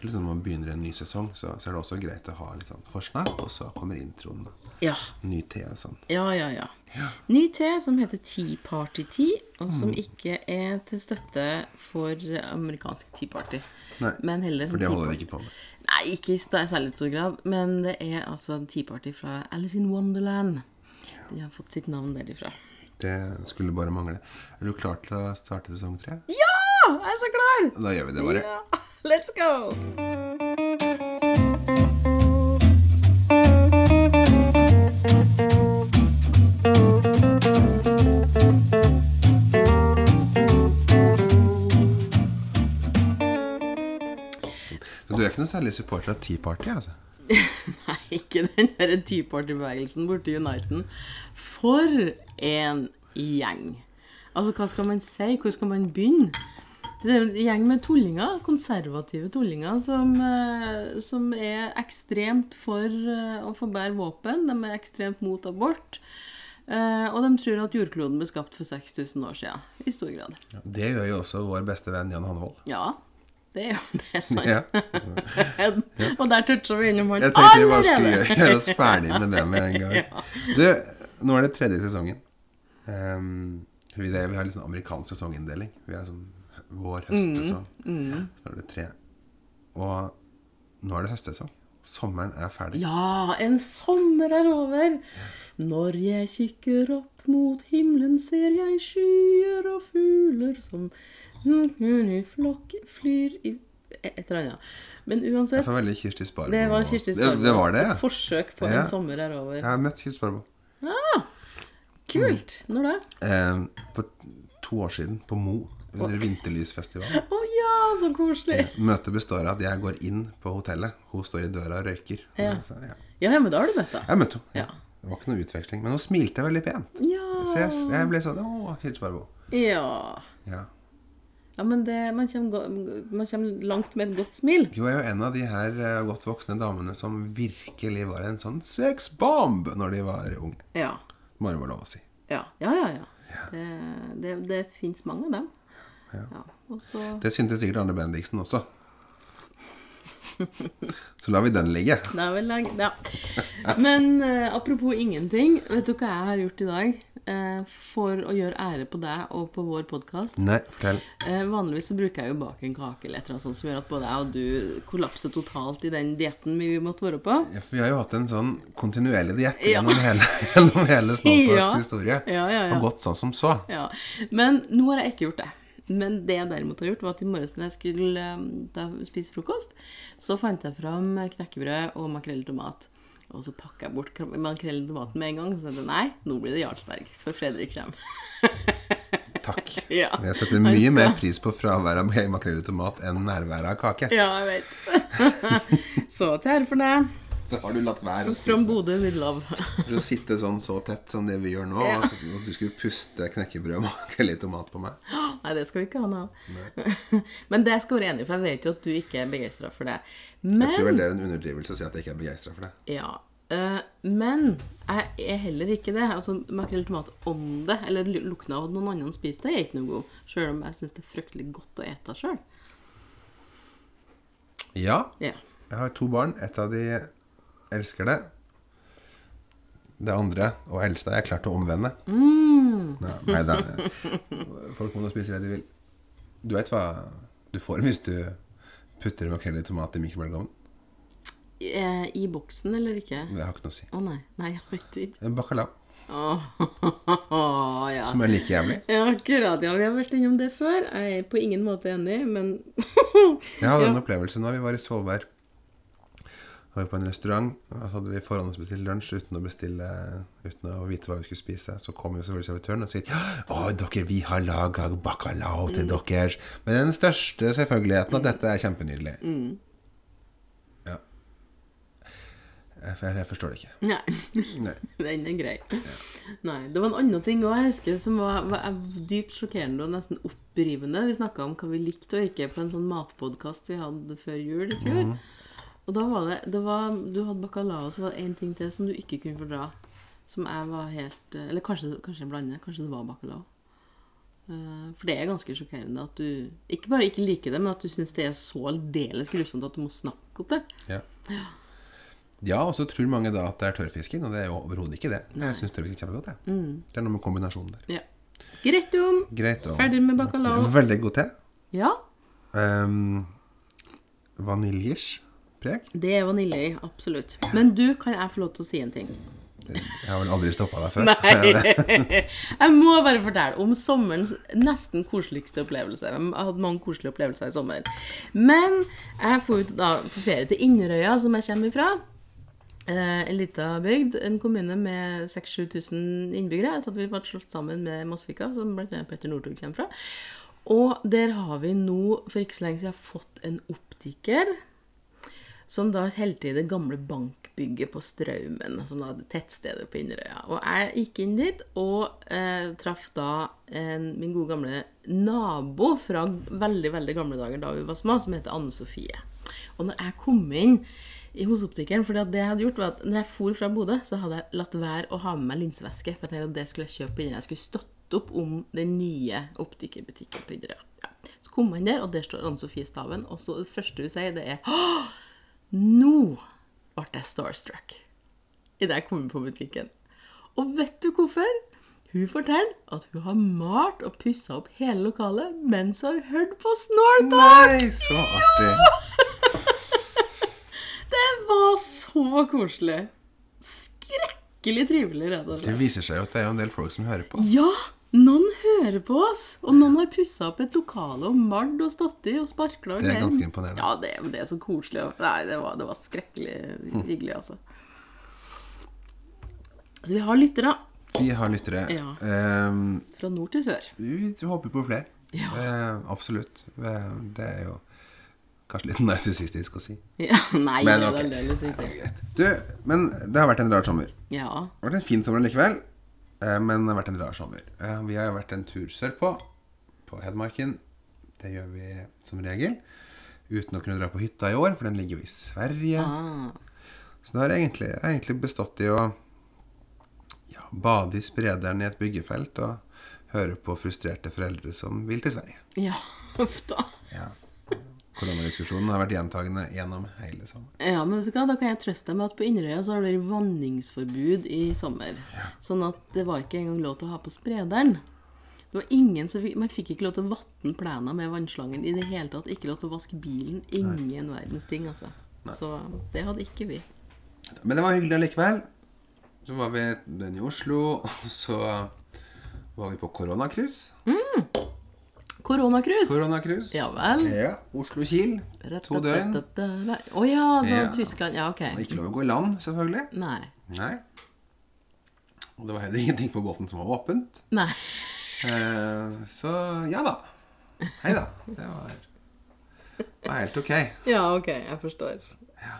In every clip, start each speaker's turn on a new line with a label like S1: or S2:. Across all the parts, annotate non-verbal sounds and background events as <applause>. S1: Eller sånn når man begynner en ny sesong, så, så er det også greit å ha litt sånn forsnakk, og så kommer introen. da.
S2: Ja.
S1: Ny te og sånn.
S2: Ja, ja, ja. Ny te som heter Tea Party Tea, og
S1: Mm.
S2: som ikke er til støtte for amerikansk Tea Party.
S1: Nei,
S2: men heller
S1: For det holder de ikke på med.
S2: Nei, ikke i sta- særlig stor grad, men det er altså en Tea Party fra Alice in Wonderland. De har fått sitt navn derifra.
S1: Det skulle bare mangle. Er du klar til å starte sesong tre?
S2: Ja! Jeg er så klar!
S1: Da gjør vi det bare.
S2: Ja, let's go!
S1: Så du er ikke noe særlig supporter av Tea Party, altså?
S2: <laughs> Nei, ikke den der Tea Party-bevegelsen borte i Uniten. For en gjeng! Altså, hva skal man si? Hvor skal man begynne? Det er en gjeng med tullinger, konservative tullinger, som, eh, som er ekstremt for eh, å få bære våpen. De er ekstremt mot abort. Eh, Og de tror at jordkloden ble skapt for 6000 år siden, i stor grad.
S1: Det gjør jo også vår beste venn Jan Hanvold.
S2: Ja, det er jo det er sant.
S1: Ja.
S2: <laughs> Og der toucha vi innom han
S1: Jeg tenkte vi bare skulle <laughs>
S2: <laughs>
S1: gjøre- gjøre oss ferdig med det med en gang. Du, nå er det tredje sesongen. Ehm, vi, det, vi har litt sånn amerikansk sesonginndeling. Vi er sånn
S2: Mm,
S1: vår-høstsesong. Så er det tre. Og nå er det høstsesong. Sommeren er ferdig.
S2: Ja, en sommer er over. Når jeg kikker opp mot himmelen, ser jeg skyer og fugler som i flokk flyr i Et eller annet. Men
S1: Det
S2: uansett,
S1: var veldig Kirsti Sparbo.
S2: det var Kirsti
S1: Det, det var det,
S2: Et
S1: ja.
S2: forsøk på
S1: Ja.
S2: en sommer er over. Ah,
S1: Jeg har møtt Kirsti Sparbo.
S2: Kult! Når da?
S1: Ehm, for to år siden, på Mo, under Vinterlysfestivalen.
S2: Å ja, så koselig!
S1: Møtet består av at jeg går inn på hotellet. Hun står i døra og røyker.
S2: Ja.
S1: Så, ja.
S2: Ja, men da har du møtt henne.
S1: Jeg møtte henne.
S2: Ja.
S1: Det var ikke noe utveksling, men hun smilte veldig pent. Så jeg,
S2: Ja.
S1: jeg ble sånn Å, Hilde Sparbo.
S2: ja.
S1: Ja.
S2: Ja, men det, man, kommer, go- man kommer langt med et godt smil.
S1: Hun er jo en av de her eh, godt voksne damene som virkelig var en sånn sexbomb når de var unge.
S2: Ja.
S1: Bare var lov å si.
S2: Ja, ja, ja. ja. Det, det, det fins mange av dem. Ja. og så
S1: Det syntes sikkert Arne Bendiksen
S2: <laughs>
S1: også. Så lar vi den ligge.
S2: Det er vel lang- ja. Men eh, apropos ingenting. Vet du hva jeg har gjort i dag? eh, for å gjøre ære på deg og på vår podkast.
S1: Nei, fortell.
S2: Eh, vanligvis så bruker jeg jo bake en kake eller et eller annet sånt som gjør at både jeg og du kollapser totalt i den dietten vi måtte være på.
S1: Ja, for vi har jo hatt en sånn kontinuerlig diett
S2: Ja.
S1: gjennom hele, <laughs> gjennom hele
S2: Ja.
S1: Snowparks historie.
S2: Ja, ja, ja.
S1: Og gått sånn som så.
S2: <laughs> Ja, Men nå har jeg ikke gjort det. Men det jeg derimot har gjort, var at i morges når jeg skulle eh, da spise frokost, så fant jeg fram knekkebrød og makrell i tomat. Og så pakka jeg bort kram- makrell i tomaten med en gang. Så tenkte jeg nei, nå blir det Jarlsberg, for Fredrik kommer.
S1: Takk.
S2: Ja.
S1: Jeg setter
S2: Han
S1: mye
S2: skal-
S1: mer pris på fraværet av <laughs> makrell i tomat enn nærværet av kake.
S2: <laughs> Ja, jeg vet. <laughs> så til ære for deg.
S1: Så har du latt være å
S2: From
S1: spise.
S2: Bodø with love.
S1: For å sitte sånn så tett som det vi gjør nå,
S2: Ja.
S1: og så, og du skulle puste knekkebrød og <laughs> makrell i tomat på meg
S2: <laughs> Nei, det skal vi ikke ha noe av. <laughs> Men det jeg skal være enig i, for jeg vet jo at du ikke er begeistra for det. Men
S1: Jeg tror vel det er en underdrivelse å si at jeg ikke er begeistra for det.
S2: Ja. eh, men jeg er heller ikke det. Altså, Makrell i tomat om det, eller lu- lukten av at noen andre spiser det, er ikke noe god. Sjøl om jeg syns det er fryktelig godt å ete sjøl.
S1: Ja,
S2: Ja.
S1: jeg har to barn. Et av de elsker det. Det andre og eldste er jeg klart å omvende. Nei, nei da. Folk må nå spise det de vil. Du veit hva du får hvis du putter makrell i tomat i mikrobølgeovnen?
S2: Eh, I boksen eller ikke?
S1: Det har ikke noe å si.
S2: Å nei. Nei, jeg vet ikke.
S1: Bacalao,
S2: Åh, <laughs> ja.
S1: som er like jævlig.
S2: ja. Akkurat. Ja, vi har vært innom det før. Jeg er på ingen måte enig, men <laughs>
S1: Jeg hadde en opplevelse nå. Vi var i Svolvær. Vi var på en restaurant. og Så hadde vi forhåndsbestilt lunsj uten å bestille Uten å vite hva vi skulle spise. Så kom jo selvfølgelig servitøren og sier Å, dere, vi har laga bacalao til dere. Med den største selvfølgeligheten at dette er kjempenydelig. Ja. Jeg, jeg, jeg forstår det ikke.
S2: Nei.
S1: Nei.
S2: <laughs> Den er grei. Nei, Det var en annen ting også, jeg husker som var, var er dypt sjokkerende og nesten opprivende. Vi snakka om hva vi likte og ikke på en sånn matpodkast vi hadde før jul i fjor. Og da var det, det var, Du hadde bacalao, og så var det én ting til som du ikke kunne fordra. Som jeg var helt eh, Eller kanskje, kanskje jeg blander. Kanskje det var bacalao. Eh, For det er ganske sjokkerende at du ikke bare ikke liker det, men at du syns det er så aldeles grusomt at du må snakke om det.
S1: Ja. ja, og så tror mange da at det er tørrfisken, og det er jo overhodet ikke det. Jeg syns tørrfisk er kjempegodt, jeg. Det er noe med kombinasjonen der.
S2: Ja. Greit om.
S1: Greit. Og
S2: Ferdig med bacalao.
S1: Veldig god te.
S2: Ja,
S1: Um, Vaniljes preg.
S2: det er vanilje i, absolutt. Men du, kan jeg få lov til å si en ting?
S1: Jeg har vel aldri stoppa deg før.
S2: Nei. <laughs> Jeg må bare fortelle om sommerens nesten koseligste opplevelse. Jeg hadde mange koselige opplevelser i sommer. Men jeg får ut da på ferie til Inderøya, som jeg kommer ifra. Eh, En lita bygd. En kommune med 6000-7000 innbyggere. Jeg tror at vi ble slått sammen med Mosvika, som blant annet Petter Northug kommer fra. Og der har vi nå, for ikke så lenge siden, fått en optiker som da holder til i det gamle bankbygget på Straumen, som da hadde tettstedet på Inderøya. Og jeg gikk inn dit og eh, traff da en, min gode gamle nabo fra veldig, veldig gamle dager da vi var små, som heter Anne Sofie. Og når jeg kom inn i hos optikeren, for det jeg hadde gjort var at når jeg for fra Bodø, så hadde jeg latt være å ha med meg linsevæske, for jeg tenkte at det skulle jeg kjøpe på Inderøya. Jeg skulle støtte opp om den nye optikerbutikken på Inderøya. Ja. Så kom jeg inn der, og der står Anne Sofie Staven, og så det første hun sier, det er nå ble jeg starstruck idet jeg kom inn på butikken. Og vet du hvorfor? Hun forteller at hun har malt og pussa opp hele lokalet mens hun har hørt på Snorta!
S1: <laughs> Nei, så artig.
S2: Det var så koselig. Skrekkelig trivelig, rett og
S1: Det
S2: slett.
S1: viser seg jo at det er jo en del folk som hører på.
S2: Ja, noen hører på oss, og noen har pussa opp et lokale og malt og stått i og sparkla og
S1: Det er
S2: greier.
S1: ganske imponerende.
S2: Ja, det, det er så koselig. og- Nei, det var, det var skrekkelig hyggelig, altså. Så vi har lyttere
S1: Vi har lyttere.
S2: Ja.
S1: Ehm,
S2: fra nord til sør.
S1: vi håper på flere.
S2: Ja.
S1: Ehm, absolutt. Ehm, det er jo kanskje litt <laughs> narsissistisk å si.
S2: <laughs> Ja, nei,
S1: Men
S2: det er
S1: ok.
S2: aldeles ikke.
S1: Greit. Du, men det har vært en rar sommer. Det
S2: Ja.
S1: har vært en fin sommer likevel, eh, men det har vært en rar sommer. Eh, Vi har jo vært en tur sørpå, på Hedmarken. Det gjør vi som regel. Uten å kunne dra på hytta i år, for den ligger jo i Sverige.
S2: Ah,
S1: Så det har egentlig, det har egentlig bestått i å ja, bade i sprederen i et byggefelt og høre på frustrerte foreldre som vil til Sverige.
S2: ja, <laughs> uff da.
S1: Ja. Koronadiskusjonen har vært gjentagende gjennom hele sommeren.
S2: Ja, men vet du hva, da kan jeg trøste deg med at på Inderøya så har det vært vanningsforbud i sommer. Sånn at det var ikke engang lov til å ha på sprederen. Det var ingen som fikk, Man fikk ikke lov til å vatne plena med vannslangen i det hele tatt. Ikke lov til å vaske bilen. Ingen verdens ting, altså. Så det hadde ikke vi.
S1: Men det var hyggelig allikevel. Så var vi den i Oslo, og så var vi på koronacruise.
S2: Koronakrus!
S1: Koronacruise.
S2: Ja vel.
S1: Ja, Oslo-Kiel. To døgn.
S2: Å ja, det var
S1: Ja.
S2: Tyskland. Ja,
S1: Det var
S2: ok.
S1: Ikke lov å gå i land, selvfølgelig.
S2: Nei.
S1: Nei. Og det var heller ingenting på båten som var åpent.
S2: Nei.
S1: Eh, Så ja da. Hei da. Det var, det var helt ok.
S2: Ja, ok. Jeg forstår.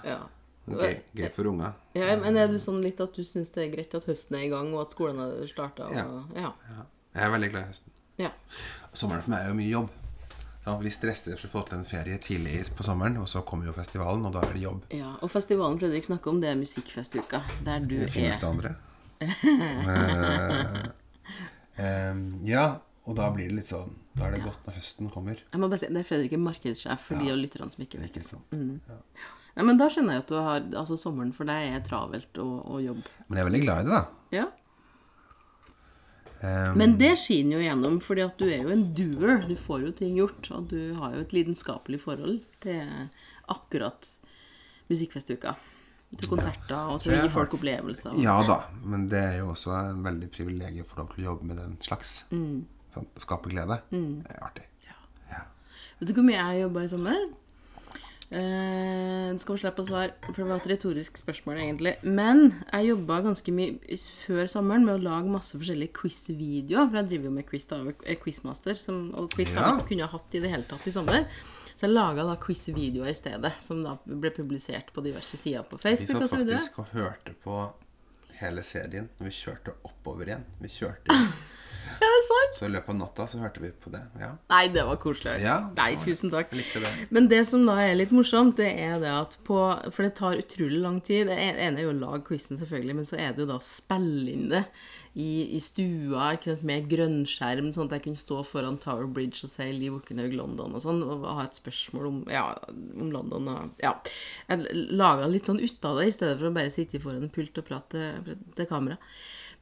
S2: Ja.
S1: okay. Gøy for unga.
S2: Ja, men er du sånn litt at du syns det er greit at høsten er i gang, og at skolen har starta? og- Ja.
S1: Ja. Jeg er veldig glad i høsten.
S2: ja.
S1: Sommeren for meg er jo mye jobb. Ja, vi stresser for å få til en ferie tidlig på sommeren, og så kommer jo festivalen, og da er det jobb.
S2: ja. Og festivalen Fredrik snakker om, det er musikkfestuka, der du
S1: Det finnes
S2: er.
S1: det andre. Eh, eh, ja, og da blir det litt sånn Da er det godt når høsten kommer.
S2: Jeg må bare si, Der Fredrik er markedssjef for de og lytterne som ikke vet.
S1: Ikke sånn. sant?
S2: Ja, men da skjønner jeg at du har, altså sommeren for deg er travelt og, og jobb.
S1: Men jeg er veldig glad i det, da.
S2: Ja.
S1: Eh,
S2: Men det skinner jo gjennom, fordi at du er jo en doer. Du får jo ting gjort, og du har jo et lidenskapelig forhold til akkurat musikkfestuka. Til konserter og til å
S1: Jeg har-
S2: gi folk opplevelser.
S1: Ja da, men det er jo også en veldig privilegium å få lov til å jobbe med den slags. Sånn, å skape glede. Det er artig. Ja.
S2: Vet du hvor mye jeg jobba i sommer? Eh, du skal få slippe å svare, for det var et retorisk spørsmål, egentlig. Men jeg jobba ganske mye s- før sommeren med å lage masse forskjellige quiz-videoer. For jeg driver jo med quiz, da, og er quizmaster, som, og quiz har
S1: Ja.
S2: vi ikke kunnet hatt i det hele tatt i sommer. Så jeg laga da quiz-videoer i stedet, som da ble publisert på diverse sider på
S1: Vi
S2: Facebook
S1: satt
S2: osv.
S1: faktisk og hørte på hele serien når vi kjørte oppover igjen. Vi kjørte
S2: Er det sant?
S1: Så i løpet av natta så hørte vi på det. Ja.
S2: Nei, det var koselig.
S1: Ja.
S2: Nei, tusen takk.
S1: Jeg likte det.
S2: Men det som da er litt morsomt, det er det at på For det tar utrolig lang tid. Det ene er jo å lage quizen, selvfølgelig, men så er det jo da å spille inn det i, i stua ikke sant, med grønnskjerm, sånn at jeg kunne stå foran Tower Bridge og si Liv Okkenhaug London og sånn, og ha et spørsmål om, ja, om London og Ja. Jeg laga litt sånn ut av det, i stedet for å bare sitte foran en pult og prate til, til kamera.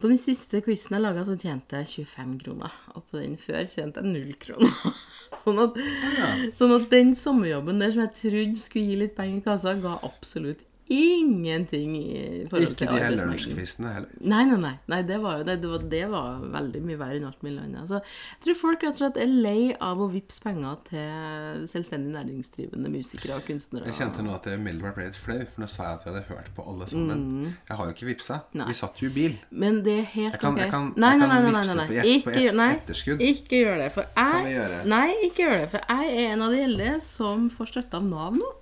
S2: På den siste quizen jeg laga, så tjente jeg 25 kroner. Og på den før tjente jeg null kroner. <laughs> Sånn at, sånn at den sommerjobben der som jeg trodde skulle gi litt penger i kassa, ga absolutt ingenting i forhold
S1: Ikke
S2: til
S1: de her
S2: arbeidsmengden.
S1: lunsjkvistene heller.
S2: Nei, nei, nei. nei det, var jo, det, det, var, det var veldig mye verre enn alt mulig annet. Så jeg tror folk rett og slett er lei av å vippse penger til selvstendig næringsdrivende musikere og kunstnere.
S1: Jeg kjente nå at jeg umiddelbart ble litt flau, for nå sa jeg at vi hadde hørt på alle sammen. Jeg har jo ikke vippsa.
S2: Mm. Nei.
S1: Vi satt jo i bil.
S2: Men det er helt
S1: Jeg kan-
S2: ok.
S1: jeg kan-
S2: nei,
S1: jeg
S2: nei,
S1: kan
S2: nei, nei,
S1: vipse
S2: nei,
S1: på et-
S2: nei.
S1: på
S2: Ikke,
S1: et-
S2: gjør- nei.
S1: etterskudd.
S2: ikke gjør det. For jeg,
S1: vi gjøre?
S2: Nei, ikke gjør det, for jeg er en av de eldre som får støtte av Nav nå.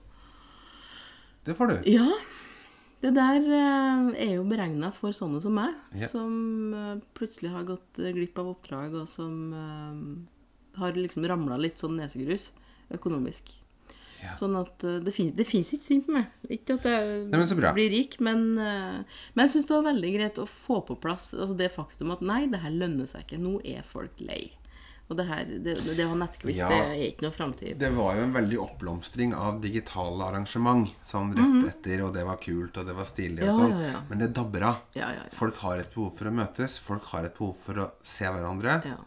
S1: Det får du.
S2: Ja. Det der eh, er jo beregna for sånne som meg,
S1: Ja.
S2: som eh, plutselig har gått eh, glipp av oppdrag, og som eh, har liksom ramla litt sånn nesegrus økonomisk.
S1: Ja.
S2: Sånn at eh, det, fin det fins ikke synd på meg. Ikke at jeg
S1: Nei, men så bra.
S2: blir rik, men, eh, men jeg syns det var veldig greit å få på plass altså det faktum at nei, det her lønner seg ikke. Nå er folk lei. Og det her, det, det å ha nettquiz,
S1: Ja.
S2: det er ikke noe framtid.
S1: Det var jo en veldig oppblomstring av digitale arrangement sånn rett etter, og det var kult, og det var stilig og
S2: Mhm. Ja,
S1: sånn.
S2: ja, ja.
S1: Men det dabber av.
S2: Ja, ja, ja.
S1: Folk har et behov for å møtes. Folk har et behov for å se hverandre.
S2: Ja.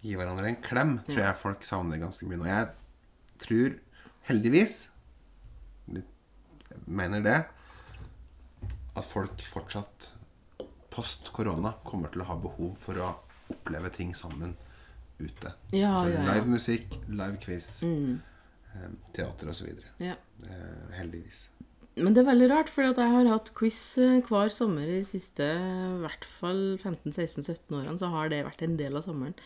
S1: Gi hverandre en klem. Tror jeg folk savner ganske mye nå. Jeg tror heldigvis litt- jeg mener det at folk fortsatt post korona kommer til å ha behov for å oppleve ting sammen ute.
S2: Ja,
S1: altså,
S2: ja, ja.
S1: Live musikk, live quiz, eh, teater osv.
S2: Ja.
S1: Eh, heldigvis.
S2: Men det er veldig rart, for jeg har hatt quiz eh, hver sommer de siste i hvert fall 15-16-17 årene. Så har det vært en del av sommeren.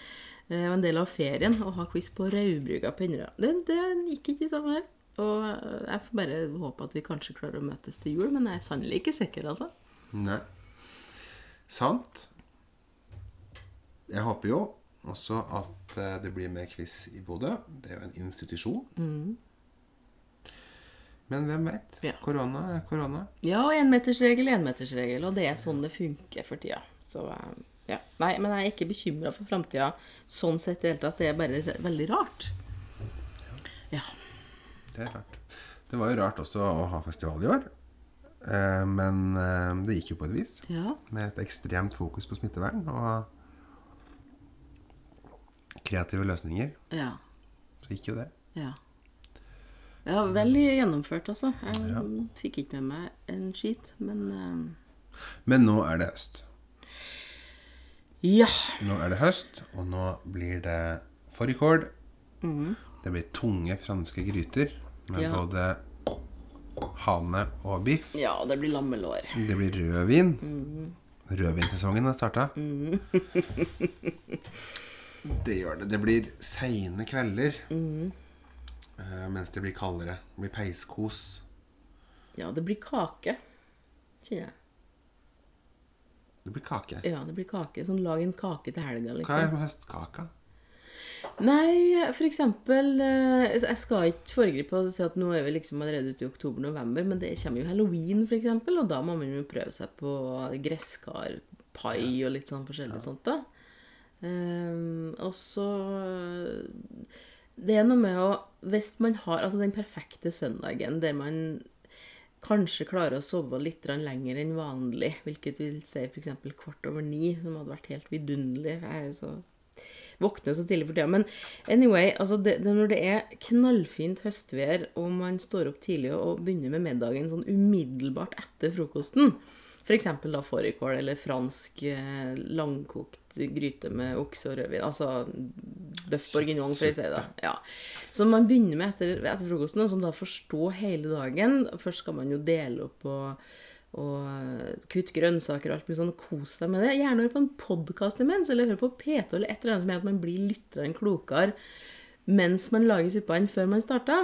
S2: Eh, og en del av ferien å ha quiz på Raubrygga på Inderøy. Det, det gikk ikke sammen her. Og eh, jeg får bare håpe at vi kanskje klarer å møtes til jul, men jeg er sannelig ikke sikker, altså.
S1: Nei. Sant. Jeg håper jo også at eh, det blir mer quiz i Bodø. Det er jo en institusjon. Men hvem veit?
S2: Ja.
S1: Korona er korona.
S2: Ja, og enmetersregel, enmetersregel. Og det er sånn det funker for tida. Så eh, ja. Nei, men jeg er ikke bekymra for framtida sånn sett i det hele tatt. Det er bare re- veldig rart. Ja.
S1: Det er rart. Det var jo rart også å ha festival i år. Eh, Men eh, det gikk jo på et vis.
S2: ja.
S1: Med et ekstremt fokus på smittevern og kreative løsninger.
S2: Ja.
S1: Så gikk jo det.
S2: Ja. ja vel gjennomført, altså. Jeg fikk ikke med meg en skit, men eh,
S1: Men nå er det høst.
S2: Ja.
S1: Nå er det høst, og nå blir det fårikål. Det blir tunge franske gryter med
S2: Mm. Ja.
S1: både hane og biff.
S2: Ja, det blir lammelår.
S1: Det blir rødvin.
S2: Mm.
S1: Rødvinsesongen har starta. det gjør det. Det blir seine kvelder.
S2: Mm.
S1: eh, mens det blir kaldere. Det blir peiskos.
S2: Ja, det blir kake, kjenner jeg.
S1: Det blir kake.
S2: Ja, det blir kake. Sånn lag en kake til helga,
S1: Hva
S2: liksom.
S1: er høstkaka?
S2: Nei, for eksempel eh, Jeg skal ikke foregripe og si at nå er vi liksom allerede ute i oktober-november, men det kommer jo halloween, for eksempel, og da må man jo prøve seg på gresskarpai og litt sånn forskjellig sånt, da. Ehm, og så Det er noe med å Hvis man har altså den perfekte søndagen der man kanskje klarer å sove litt grann lenger enn vanlig, hvilket vil si f.eks. kvart over ni, som hadde vært helt vidunderlig. Jeg er jo så våkner så tidlig for tida. Men anyway, altså det, det, når det er knallfint høstvær, og man står opp tidlig og begynner med middagen sånn umiddelbart etter frokosten F.eks. da fårikål eller fransk eh, langkokt gryte med okse og rødvin. Altså bøff bourguignon, for å si det. Ja. Som man begynner med etter, etter frokosten, og som da får stå hele dagen. Først skal man jo dele opp og, og eh, kutte grønnsaker og alt mulig sånn. Kos deg med det. Gjerne hør på en podkast imens, eller hør på P2 eller et eller annet som gjør at man blir litt grann klokere mens man lager suppa enn før man starta.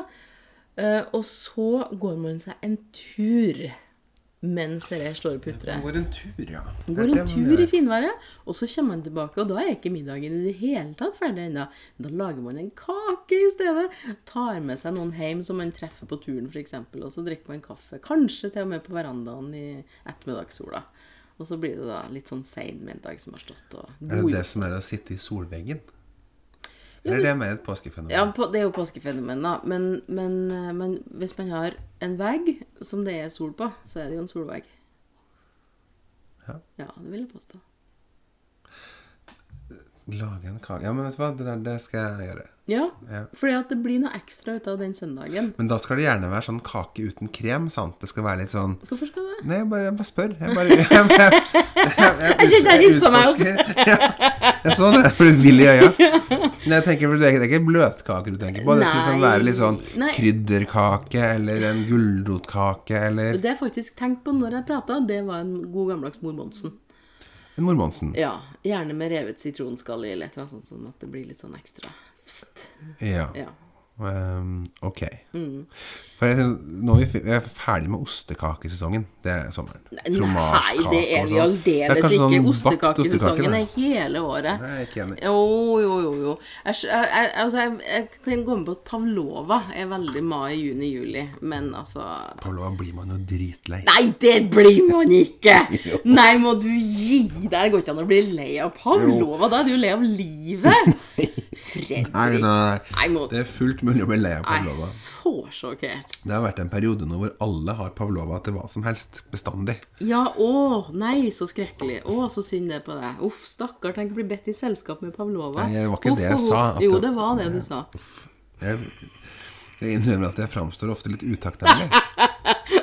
S2: Eh, og så går man seg en tur mens dette står og putrer.
S1: Går en tur, ja. Det er det
S2: Går en
S1: man
S2: tur i
S1: gjør.
S2: finværet, og så kommer man tilbake, og da er ikke middagen i det hele tatt ferdig ennå. Da lager man en kake i stedet. Tar med seg noen hjem som man treffer på turen, f.eks., og så drikker man kaffe. Kanskje til og med på verandaen i ettermiddagssola. Og så blir det da litt sånn sein middag som har stått og
S1: Er det det som er å sitte i solveggen? Eller er det mer et påskefenomen?
S2: Ja, på, det er jo påskefenomen, da. Men, men, eh, men hvis man har en vegg som det er sol på, så er det jo en solvegg.
S1: Ja.
S2: Ja, det vil jeg påstå.
S1: Lage en kake Ja, men vet du hva, det der det skal jeg gjøre.
S2: Ja,
S1: Ja.
S2: fordi at det blir noe ekstra ut av den søndagen.
S1: Men da skal det gjerne være sånn kake uten krem, sant? Det skal være litt sånn
S2: Hvorfor skal det?
S1: Nei, jeg bare, jeg bare spør. Jeg bare <laughs> Jeg, jeg, jeg, jeg,
S2: Jeg kjente jeg hisset meg opp.
S1: utforsker. Ja, jeg så det. Jeg ble vill i øya. Men jeg tenker, for det er ikke- det er ikke bløtkaker du tenker på. Det skal liksom
S2: Nei.
S1: være litt sånn
S2: Nei.
S1: krydderkake eller en gulrotkake eller
S2: Det jeg faktisk tenkte på når jeg prata, det var en god gammeldags Mor Monsen.
S1: en mormonsen.
S2: Ja, gjerne med revet sitronskall i, eller et eller annet sånt, sånn at det blir litt sånn ekstra Pst.
S1: Ja.
S2: Ja.
S1: Ehm, ok.
S2: Mm.
S1: For jeg, tenker, nå er vi, fe- vi er ferdig med ostekakesesongen. Det er sommeren. sånn.
S2: Nei, nei, det er vi aldeles ikke. Ostekakesesongen er hele året.
S1: Nei, jeg er ikke enig.
S2: Jo, jo, jo. jo. Jeg, skj- jeg, jeg, altså, jeg, jeg kan gå med på at Pavlova er veldig mai, juni, juli, men altså
S1: Paula, blir man jo dritlei.
S2: Nei, det blir man ikke!
S1: <laughs> Jo.
S2: Nei, må du gi deg! Det går ikke an å bli lei av Pavlova. Da er du jo lei av livet.
S1: <laughs>
S2: Fredrik.
S1: Nei, nei, nei.
S2: Nei, må,
S1: Det er fullt mulig å bli lei av
S2: jeg er
S1: Pavlova.
S2: så sjokkert.
S1: Det har vært en periode nå hvor alle har Pavlova til hva som helst. Bestandig.
S2: Ja, å, nei, så skrekkelig. Å, så synd det på deg. Uff, stakkar, tenk å bli bedt i selskap med Pavlova.
S1: Nei, det var ikke
S2: Uff,
S1: det jeg
S2: uff,
S1: sa.
S2: uff.
S1: at
S2: Jo, det var det du sa.
S1: Uff. Jeg, jeg innrømmer at jeg framstår ofte litt utakknemlig.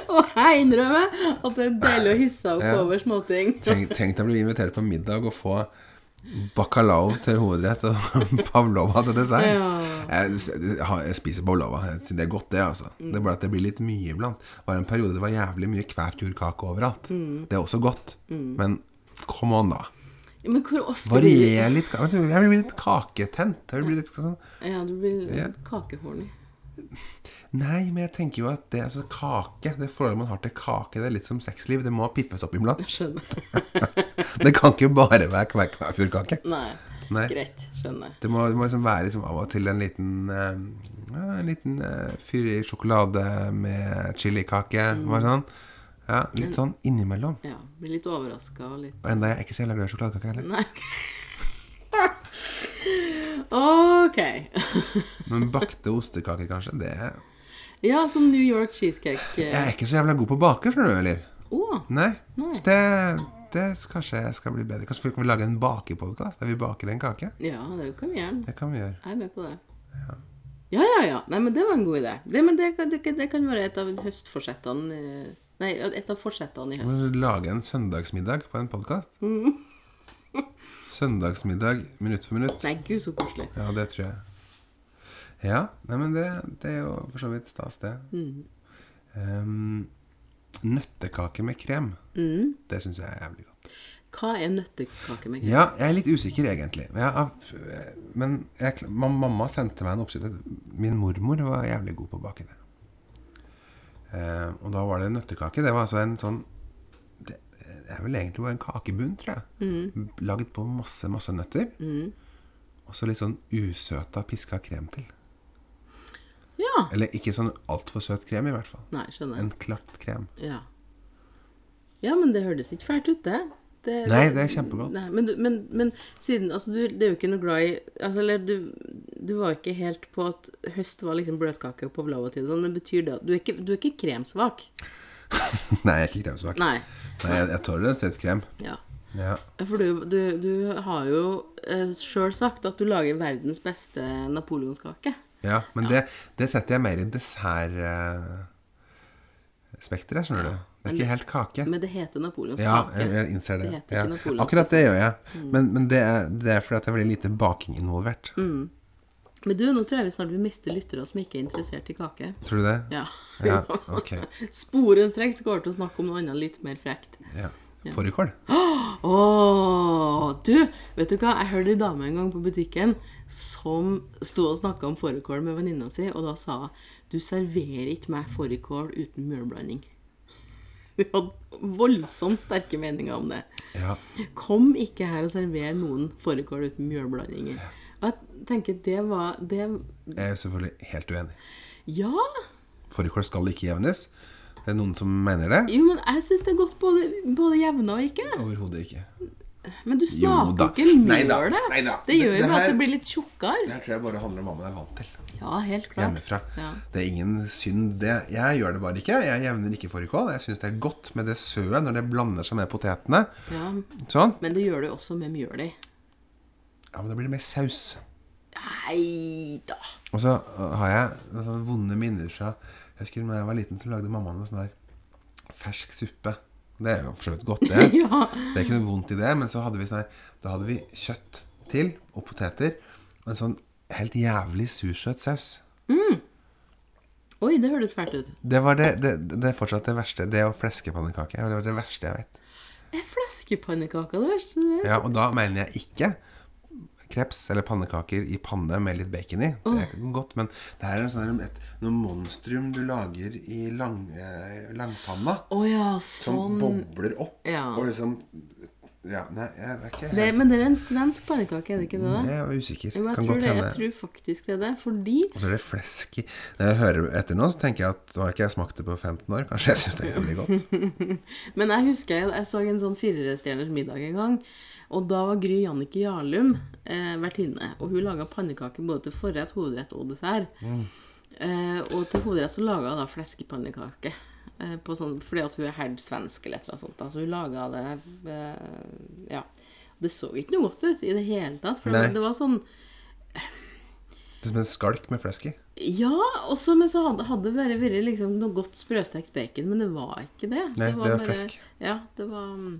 S2: Og jeg innrømmer at det er deilig å hisse seg opp
S1: Ja.
S2: over småting.
S1: Tenk, tenk deg å bli invitert på middag og få bacalao til hovedrett og <laughs> pavlova til dessert. Jeg, s- jeg har- jeg spiser pavlova. Jeg synes Det er godt, det. altså Det er bare at det blir litt mye iblant. Det var en periode det var jævlig mye kvevt jordkake overalt. Det er også godt. Men come on, da.
S2: Ja, Men hvor ofte blir
S1: Varier litt. ka- Jeg vil bli litt kaketent. Jeg vil bli litt sånn
S2: det Ja, du blir
S1: Ja.
S2: kakehorny.
S1: Nei, men jeg tenker jo at det altså, kake Det forholdet man har til kake, det er litt som sexliv. Det må piffes opp iblant.
S2: Skjønner.
S1: Det kan ikke bare være kve- kvæfjordkake.
S2: Nei.
S1: Nei.
S2: Greit. Skjønner.
S1: Det må, det må liksom være liksom av og til en liten eh, ja, En liten eh, fyr i sjokolade med chilikake. Bare sånn. Ja, litt sånn innimellom.
S2: Ja. Blir litt overraska og litt
S1: Og enda jeg er ikke så jævla glad i sjokoladekake heller.
S2: Nei. OK.
S1: Men bakte ostekaker, kanskje, det
S2: Ja, som New York cheesecake.
S1: Jeg
S2: eh.
S1: er ikke så jævla god på å bake, skjønner du, Liv.
S2: Å,
S1: Nei.
S2: Nei.
S1: Så det, det kanskje jeg skal bli bedre. Kanskje vi kan lage en bakepodkast der vi baker en kake?
S2: ja, det kan vi gjerne.
S1: Det kan vi gjøre.
S2: Jeg er med på det. Ja, ja, ja. Nei, men det var en god idé. Det, men det, kan- det, kan- det kan være et av høstforsettene eh, Nei, et av forsettene i høst.
S1: Må du Lage en søndagsmiddag på en podkast. søndagsmiddag minutt for minutt.
S2: Nei, gud, så koselig.
S1: Ja, det tror jeg. Ja, nei, men det, det er jo for så vidt stas, det. Ehm, nøttekake med krem. Det syns jeg er jævlig godt.
S2: Hva er nøttekake med krem?
S1: Ja, jeg er litt usikker, egentlig. Men Jeg, har- men jeg, kl- ma- mamma sendte meg en oppskrift. Min mormor var jævlig god på å bake det. Eh, og da var det nøttekake. Det var altså en sånn Det er vel egentlig bare en kakebunn, tror jeg. Laget på masse, masse nøtter. Og så litt sånn usøta piska krem til.
S2: Ja.
S1: Eller ikke sånn altfor søt krem, i hvert fall.
S2: Nei, skjønner.
S1: En klatt krem. <laughs>
S2: Ja. ja, men det hørtes ikke fælt ut, det. Det-
S1: Nei, det er kjempegodt.
S2: Nei, men, du- men, men siden Altså, du det er jo ikke noe glad i altså, Eller du, du var ikke helt på at høst var liksom bløtkake og pavlova-tid og sånn. Det betyr det at du er ikke, du er ikke kremsvak.
S1: Nei, jeg er ikke kremsvak. Nei,
S2: Nei.
S1: jeg, jeg tåler en søt krem.
S2: Ja.
S1: Ja.
S2: For du, du, du har jo eh, sjøl sagt at du lager verdens beste napoleonskake.
S1: Ja, men Det, det setter jeg mer i dessertspekteret, skjønner du. Det er ikke helt kake.
S2: Men det heter
S1: Ja,
S2: napoleonskake.
S1: jeg, jeg innser det.
S2: Det heter
S1: Ja.
S2: ikke Napoleon.
S1: Akkurat det gjør jeg. Men, men det, er, det er fordi at det er veldig lite baking involvert.
S2: Men du, nå tror jeg vi snart vil miste lyttere som ikke er interessert i kake.
S1: Tror du det?
S2: Ja. <laughs>
S1: Ja, ok.
S2: Sporenstreks går det til å snakke om noe annet litt mer frekt.
S1: Ja. Fårikål?
S2: Åh, du, vet du hva? Jeg hørte en dame en gang på butikken som sto og snakka om fårikål med venninna si, og da sa hun du serverer ikke meg fårikål uten mjølblanding. <laughs> Vi hadde voldsomt sterke meninger om det.
S1: Ja.
S2: Kom ikke her og server noen fårikål uten mjølblandinger. Og jeg tenker det var det,
S1: Jeg er jo selvfølgelig helt uenig.
S2: Ja!
S1: Fårikål skal ikke jevnes. Det er noen som mener det.
S2: Jo, men jeg syns det er godt både, både jevna og ikke.
S1: Overhodet ikke.
S2: Men du
S1: Jo da.
S2: smaker ikke mjølet.
S1: Neida, neida.
S2: Det gjør
S1: Det-
S2: jo
S1: det
S2: bare at
S1: her-
S2: det blir litt tjukkere.
S1: Det her tror jeg bare handler om hva man er vant til
S2: Ja, helt klart.
S1: hjemmefra.
S2: Ja.
S1: Det er ingen synd, det. Jeg gjør det bare ikke. Jeg jevner ikke fårikål. Jeg syns det er godt med det søet når det blander seg med potetene.
S2: Ja,
S1: Sånn.
S2: men det gjør du jo også med mjøl i.
S1: Ja, men da blir det mer saus.
S2: Nei da.
S1: Og så øh, har jeg noen sånne vonde minner fra Jeg husker da jeg var liten, så lagde mamma noe sånn der fersk suppe. Det er jo for så vidt godt, det.
S2: <laughs> Ja.
S1: Det er ikke noe vondt i det, men så hadde vi sånn her Da hadde vi kjøtt til, og poteter, og en sånn helt jævlig sursøt saus.
S2: Oi, det hørtes fælt ut.
S1: Det var det, det, det er fortsatt det verste. Det å fleske pannekaker. Det var det verste jeg vet.
S2: Er fleskepannekaker det verste du vet?
S1: Ja, og da mener jeg ikke kreps eller pannekaker i panne med litt bacon i. Det er ikke godt, men det her er en sånn, et, noe monstrum du lager i lang, eh, langpanna.
S2: Å ja,
S1: Som
S2: sånn.
S1: bobler opp
S2: Ja.
S1: og liksom Ja, nei, jeg er ikke
S2: Det, men det er en svensk pannekake, er det ikke det? da?
S1: Jeg er usikker.
S2: Jo, jeg,
S1: kan
S2: tror
S1: godt
S2: det,
S1: hende.
S2: jeg tror faktisk det er det. Fordi
S1: Og så er det flesk i Når jeg hører etter nå, så tenker jeg at nå har ikke jeg smakt det på 15 år. Kanskje jeg syns det er jævlig godt.
S2: <laughs> Men jeg husker jeg, jeg så en sånn firestjerners middag en gang. Og da var Gry Jannicke Jarlum eh, vertinne. Og hun laga pannekaker både til forrett, hovedrett og dessert.
S1: Mm.
S2: Eh, og til hovedrett så laga hun da fleskepannekake. Eh, på sånn, fordi at hun er herd svensk eller et eller annet sånt. da. Så hun laga det eh, Ja. Det så ikke noe godt ut i det hele tatt. For det,
S1: Nei.
S2: det var sånn
S1: Det er som en skalk med flesk i.
S2: Ja, også, men så hadde, hadde det bare vært liksom noe godt sprøstekt bacon, men det var ikke det.
S1: Nei, det var
S2: bare-
S1: flesk.
S2: Ja, det var mm,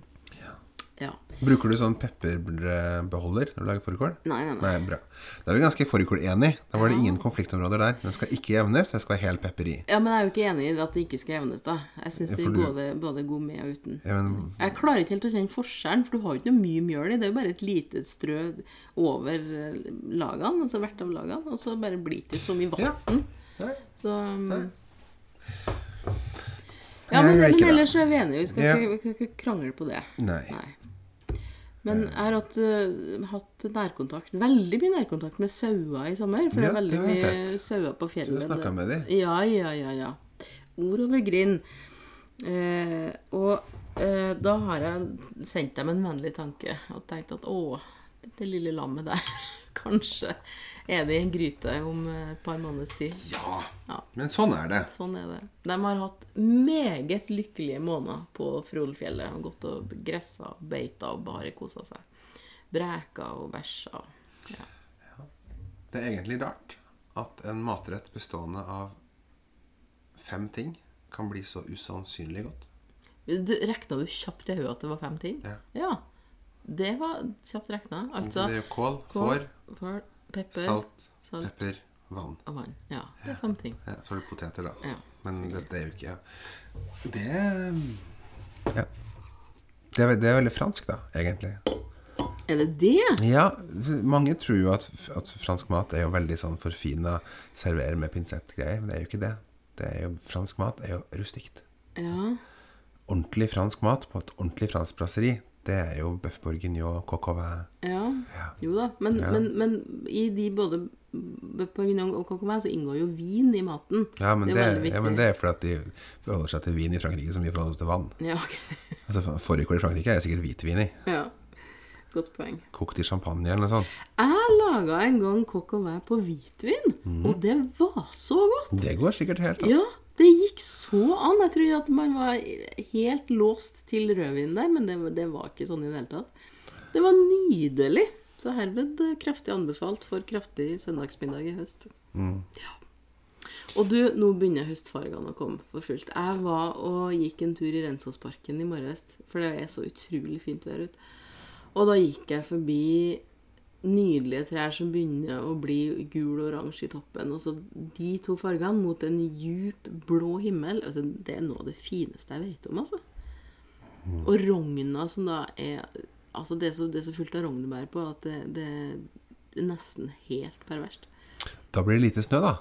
S2: Ja.
S1: Bruker du sånn pepperbeholder når du lager fårikål?
S2: Nei, nei, nei.
S1: Nei, bra. Da er vi ganske fårikålenige. Da var det ingen konfliktområder der. Den skal ikke jevnes, den skal ha hel pepper i.
S2: ja, men jeg er jo ikke enig i at det ikke skal jevnes, da. Jeg syns
S1: Ja,
S2: det
S1: for
S2: er
S1: du-
S2: både, både god med og uten.
S1: Ja, men
S2: Jeg klarer ikke helt å kjenne forskjellen, for du har jo ikke noe mye mjøl i. Det er jo bare et lite strø over eh, lagene, og så hvert av lagene, og så bare blir det ikke så mye
S1: Ja.
S2: vann.
S1: Nei.
S2: Så um,
S1: Nei.
S2: Ja, men,
S1: Jeg liker
S2: men
S1: det.
S2: ellers er vi enige. Vi skal
S1: Ja.
S2: ikke, vi skal ikke krangle på det.
S1: Nei.
S2: Nei. Men jeg har hatt, øh, hatt nærkontakt, veldig mye nærkontakt med sauer i sommer. For
S1: Ja,
S2: det er
S1: det
S2: veldig
S1: har jeg
S2: mye
S1: sett.
S2: sauer på
S1: Du
S2: fjellet.
S1: har snakka med dem.
S2: Ja, ja, ja. ja. Ord over grind. Eh, og eh, da har jeg sendt dem en vennlig tanke og tenkt at å, dette lille lammet der <laughs> Kanskje er det i en gryte om eh, et par måneders tid.
S1: Ja.
S2: Ja.
S1: Men sånn er det.
S2: Sånn er det. De har hatt meget lykkelige måneder på Frollfjellet. Og gått og gressa og beita og bare kosa seg. Breka og bæsja. Ja.
S1: Det er egentlig rart at en matrett bestående av fem ting kan bli så usannsynlig godt.
S2: Du, rekna du kjapt i hodet at det var fem ting?
S1: Ja.
S2: Det var kjapt rekna. Altså
S1: Det er jo kål,
S2: kål,
S1: får,
S2: får, pepper,
S1: salt,
S2: salt.
S1: pepper, vann.
S2: og vann. Ja, det er fem ting.
S1: Ja, så har du poteter, da.
S2: Ja.
S1: Men det, det er jo ikke Det ja. Det er, ve- det er veldig fransk, da, egentlig.
S2: Er det det?
S1: Ja, f- mange tror jo at, f- at fransk mat er jo veldig sånn forfina servere med pinsettgreier, men det er jo ikke det. det er jo, fransk mat er jo rustikt.
S2: Ja.
S1: Ordentlig fransk mat på et ordentlig fransk brasseri, det er jo bøff bourguignon, coq au vin
S2: ja.
S1: ja.
S2: Jo da. Men, men, men i de både bourguignon og coq au vin så inngår jo vin i maten.
S1: Ja, men
S2: Det
S1: det,
S2: er veldig viktig.
S1: ja, men det er fordi at de forholder seg til vin i Frankrike som vi forholder oss til vann.
S2: Ja, ok.
S1: Altså, Fårikål i Frankrike er sikkert hvitvin i.
S2: Ja. Godt poeng.
S1: Kokt i champagne eller noe sånt.
S2: Jeg laga en gang coq au vin på hvitvin, og det var så godt.
S1: Det går sikkert helt an.
S2: Ja, det gikk så an. Jeg trodde at man var helt låst til rødvin der, men det, det var ikke sånn i det hele tatt. Det var nydelig. Så herved eh, kraftig anbefalt for kraftig søndagsmiddag i høst. Ja. Og du, nå begynner høstfargene å komme for fullt. Jeg var og gikk en tur i Rensåsparken i morges, for det er så utrolig fint vær ute. Og da gikk jeg forbi nydelige trær som begynner å bli gul og oransje i toppen. Og så de to fargene mot en djup blå himmel. Altså, det er noe av det fineste jeg vet om, altså. Og rogna som da er Altså, det er så, det er så fullt av rognebær på at det, det er nesten helt perverst.
S1: Da blir det lite snø, da.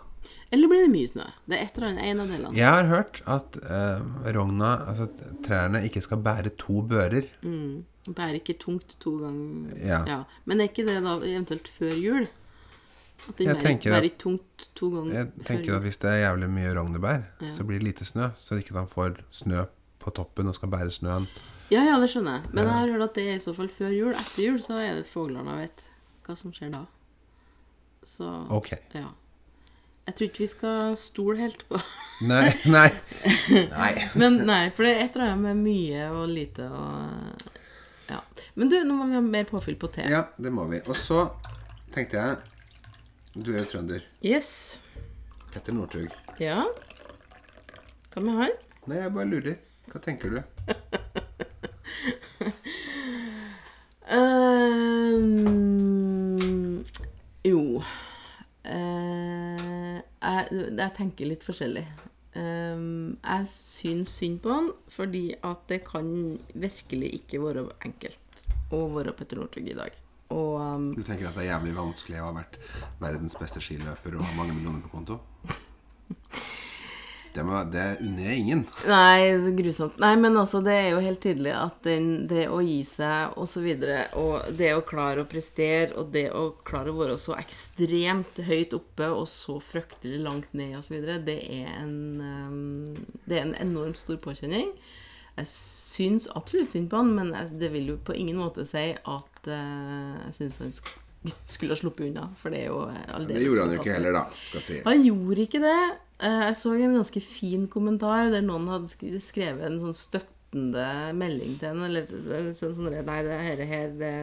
S2: Eller blir det mye snø? Det er et eller annet, en av delene.
S1: Jeg har hørt at eh, rogna, altså at trærne ikke skal bære to bører.
S2: Mm. Bærer ikke tungt to ganger.
S1: Ja.
S2: Men er ikke det da eventuelt før jul? At den
S1: Jeg
S2: bærer,
S1: tenker at-
S2: bærer tungt to ganger
S1: Jeg tenker
S2: før
S1: at
S2: jul?
S1: hvis det er jævlig mye rognebær,
S2: Mm. Ja.
S1: så blir det lite snø. Så ikke at han får snø på toppen og skal bære snøen.
S2: Ja, ja, det skjønner jeg. Men jeg har hørt at det er i så fall før jul. Etter jul så er det fuglene vet hva som skjer da. Så
S1: Ok.
S2: ja. Jeg tror ikke vi skal stole helt på <laughs>
S1: Nei, <laughs> nei. nei.
S2: Men nei, for det er et eller annet med mye og lite og Ja. Men du, nå må vi ha mer påfyll på te.
S1: Ja, det må vi. Og så tenkte jeg Du er jo trønder.
S2: Yes.
S1: Petter Northug.
S2: Ja. Hva med han?
S1: Nei, jeg bare lurer. Hva tenker du?
S2: Ehm, jo Eh, jeg, jeg tenker litt forskjellig. Ehm, jeg syns synd på han, fordi at det kan virkelig ikke være enkelt å være Petter Northug i dag. Og ehm,
S1: Du tenker at det er jævlig vanskelig å ha vært verdens beste skiløper og ha mange millioner på
S2: <laughs>
S1: konto? Det, må, det unner jeg ingen.
S2: Nei, det er grusomt. Nei, men altså, det er jo helt tydelig at den, det å gi seg og så videre, og det å klare å prestere, og det å klare å være så ekstremt høyt oppe og så fryktelig langt ned og så videre, det er en, ehm, det er en enormt stor påkjenning. Jeg syns absolutt synd på han, men jeg, det vil jo på ingen måte si at eh, jeg syns han sk skulle ha sluppet unna, for det er jo eh, aldeles
S1: Det gjorde han jo
S2: forkastelig.
S1: ikke heller, da. Skal si.
S2: Han gjorde ikke det. Eh, Jeg så en ganske fin kommentar der noen hadde sk- skrevet en sånn støttende melding til henne. Eller så- så- sånn der, Nei, det her, her det,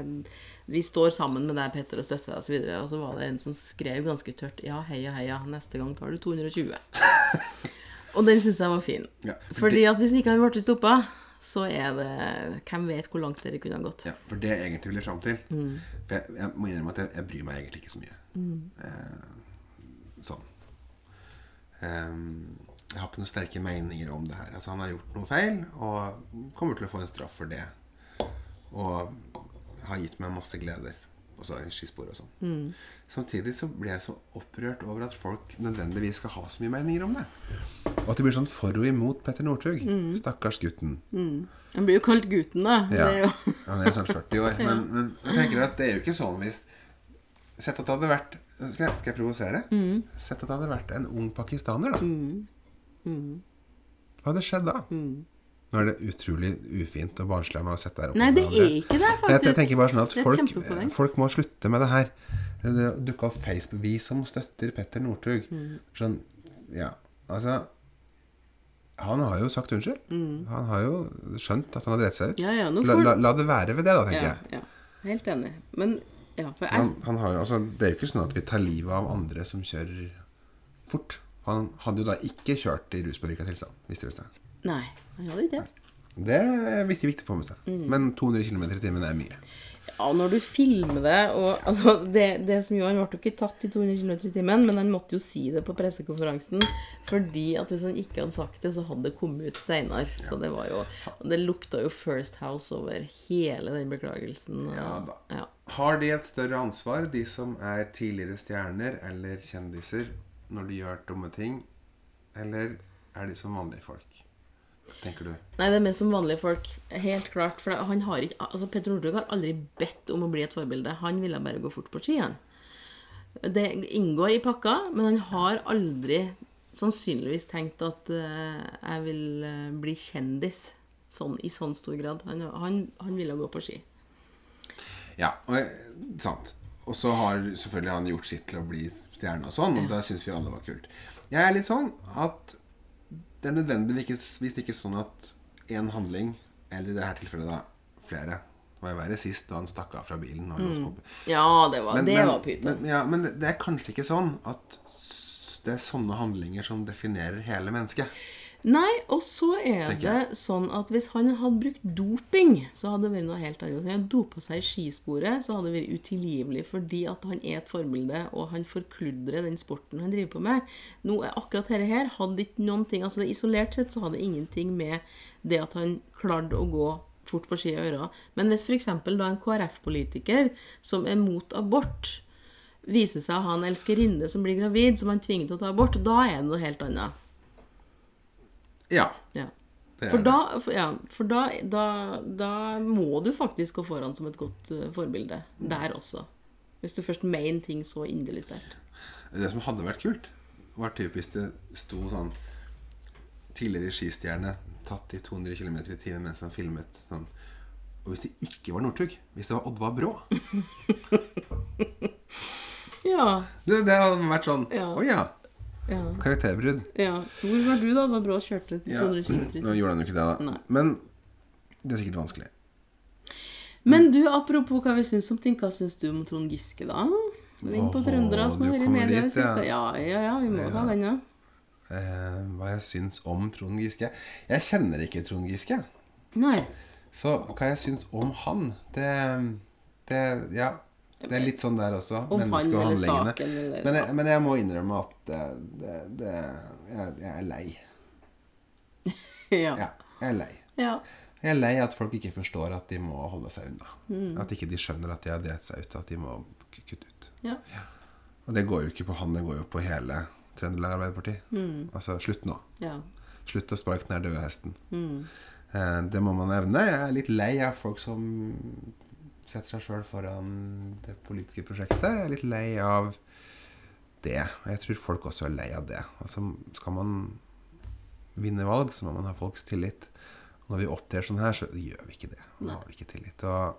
S2: Vi står sammen med deg, Petter, og støtter deg, og så videre. Og så var det en som skrev ganske tørt Ja, heia, heia. Neste gang tar du 220. og den syns jeg var fin.
S1: Ja,
S2: Fordi at hvis ikke han ble stoppa, så er det Hvem vet hvor langt dere kunne ha gått.
S1: Ja, for det jeg egentlig vil fram til For jeg, jeg må innrømme at jeg, jeg bryr meg egentlig ikke så mye. Eh, sånn. Ehm, jeg har ikke noen sterke meninger om det her. Altså, han har gjort noe feil og kommer til å få en straff for det. Og har gitt meg masse gleder. Og så er det skispor og sånn. Samtidig så blir jeg så opprørt over at folk nødvendigvis skal ha så mye meninger om det. Og at det blir sånn for og imot Petter Northug. Stakkars gutten.
S2: Han blir jo kalt gutten, da.
S1: Ja.
S2: Det er jo
S1: Han er jo snart 40 år. Men, men jeg tenker at det er jo ikke sånn hvis Sett at det hadde vært Skal jeg, skal jeg provosere?
S2: Mm.
S1: Sett at det hadde vært en ung pakistaner, da.
S2: Mm.
S1: Hva hadde skjedd da? Nå er det utrolig ufint og barnslig av meg å sette der oppe.
S2: Nei,
S1: med
S2: det er
S1: andre.
S2: ikke det,
S1: Jeg,
S2: faktisk.
S1: jeg tenker bare sånn at
S2: Det er et
S1: folk,
S2: kjempepoeng.
S1: folk må slutte med det her. Det dukka opp Facebook-vi som støtter Petter Northug.
S2: Mm.
S1: Sånn Ja. Altså Han har jo sagt unnskyld. Han har jo skjønt at han har drept seg ut.
S2: Mm. Ja, ja, nå
S1: la,
S2: får-
S1: la, la det være ved det, da, tenker
S2: ja,
S1: jeg.
S2: ja. Helt enig. Men ja, for jeg
S1: Han, han har jo, altså, det er jo ikke sånn at vi tar livet av andre som kjører fort. Han hadde jo da ikke kjørt i ruspåvirka tilstand, visste dere det.
S2: Nei, han hadde ikke det.
S1: Det er viktig, viktig å få med seg.
S2: Mm.
S1: Men 200 km i timen er mye.
S2: Ja, når du filmer det og altså, det, det som gjorde, Han ble jo ikke tatt i 200 km i timen, men han måtte jo si det på pressekonferansen. Fordi at hvis han ikke hadde sagt det, så hadde det kommet ut seinere. Så det var jo Det lukta jo First House over hele den beklagelsen.
S1: Ja da.
S2: Ja.
S1: Har de et større ansvar, de som er tidligere stjerner eller kjendiser, når de gjør dumme ting, eller er de som vanlige folk? Tenker du?
S2: Nei, det er mest som vanlige folk. Helt klart. For han har ikke, altså Petter Northug har aldri bedt om å bli et forbilde. Han ville bare gå fort på ski, han. Det inngår i pakka, men han har aldri sannsynligvis tenkt at eh, jeg vil eh, bli kjendis sånn, i sånn stor grad. Han, han, han ville gå på ski.
S1: Ja, og, sant. Og så har selvfølgelig han gjort sitt til å bli stjerne og sånn, og da syns vi alle var kult. Jeg er litt sånn at det er nødvendigvis ikke sånn at én handling, eller i dette tilfellet da flere Det var jo verre sist da han stakk av fra bilen. Og låste opp.
S2: Mm. Ja, det var,
S1: Men-
S2: det
S1: men-
S2: var pyton.
S1: Men, ja, men det er kanskje ikke sånn at s- det er sånne handlinger som definerer hele mennesket.
S2: Nei, og så er
S1: Tenker jeg.
S2: det sånn at hvis han hadde brukt doping, så hadde det vært noe helt annet. Hvis han hadde dopa seg i skisporet, så hadde det vært utilgivelig fordi at han er et forbilde, og han forkludrer den sporten han driver på med. Nå er akkurat dette her hadde ikke noen ting, altså det Isolert sett så hadde det ingenting med det at han klarte å gå fort på ski og øra. Men hvis f.eks. da en KrF-politiker som er mot abort viser seg å ha en elskerinne som blir gravid, som han tvinger til å ta abort, da er det noe helt annet.
S1: Ja.
S2: Ja.
S1: Det er
S2: For,
S1: det.
S2: da, for, ja, for da, da, da må du faktisk gå foran som et godt eh, forbilde. Der også. Hvis du først mener ting så inderlig sterkt.
S1: Det som hadde vært kult, var typ hvis det sto sånn Tidligere skistjerne tatt i 200 km i timen mens han filmet sånn. Og hvis det ikke var Northug, hvis det var Oddvar Brå
S2: Ja.
S1: Det, det hadde vært sånn Å
S2: Ja.
S1: ja.
S2: ja,
S1: Karakterbrudd.
S2: ja. Hvor var du da da Brå kjørte 200 km?
S1: Nå gjorde han jo ikke det, da.
S2: Nei.
S1: Men det er sikkert vanskelig.
S2: Men du, apropos hva vi syns om ting, hva syns du om Trond Giske, da? Inn på
S1: Åhå,
S2: trøndere som
S1: du
S2: har vært i
S1: kommer
S2: media i
S1: dit,
S2: det siste. Ja,
S1: ja.
S2: ja, ja, vi må ta den, ja.
S1: Eh, hva jeg syns om Trond Giske Jeg kjenner ikke Trond Giske.
S2: Nei.
S1: Så hva jeg syns om han, det, det Ja. Det er litt sånn der også.
S2: Om han
S1: menneske og
S2: eller
S1: handlingene.
S2: saken, eller-
S1: men, eh, jeg, men jeg må innrømme at eh, det, det, jeg, jeg er lei.
S2: <laughs> Ja.
S1: Ja, jeg er lei.
S2: ja.
S1: Jeg er lei at folk ikke forstår at de må holde seg unna. At ikke de skjønner at de har delt seg ut, at de må k- kutte ut.
S2: ja.
S1: Og det går jo ikke på han, det går jo på hele Trøndelag Arbeiderparti. Altså, slutt nå.
S2: ja.
S1: Slutt å sparke den der døde hesten. Eh, det må man evne. Jeg er litt lei av folk som setter seg sjøl foran det politiske prosjektet. Jeg er litt lei av det. Og jeg tror folk også er lei av det. Altså, skal man vinne valg, så må man ha folks tillit. Og når vi opptrer sånn her, så gjør vi ikke det. Da har vi ikke tillit. Og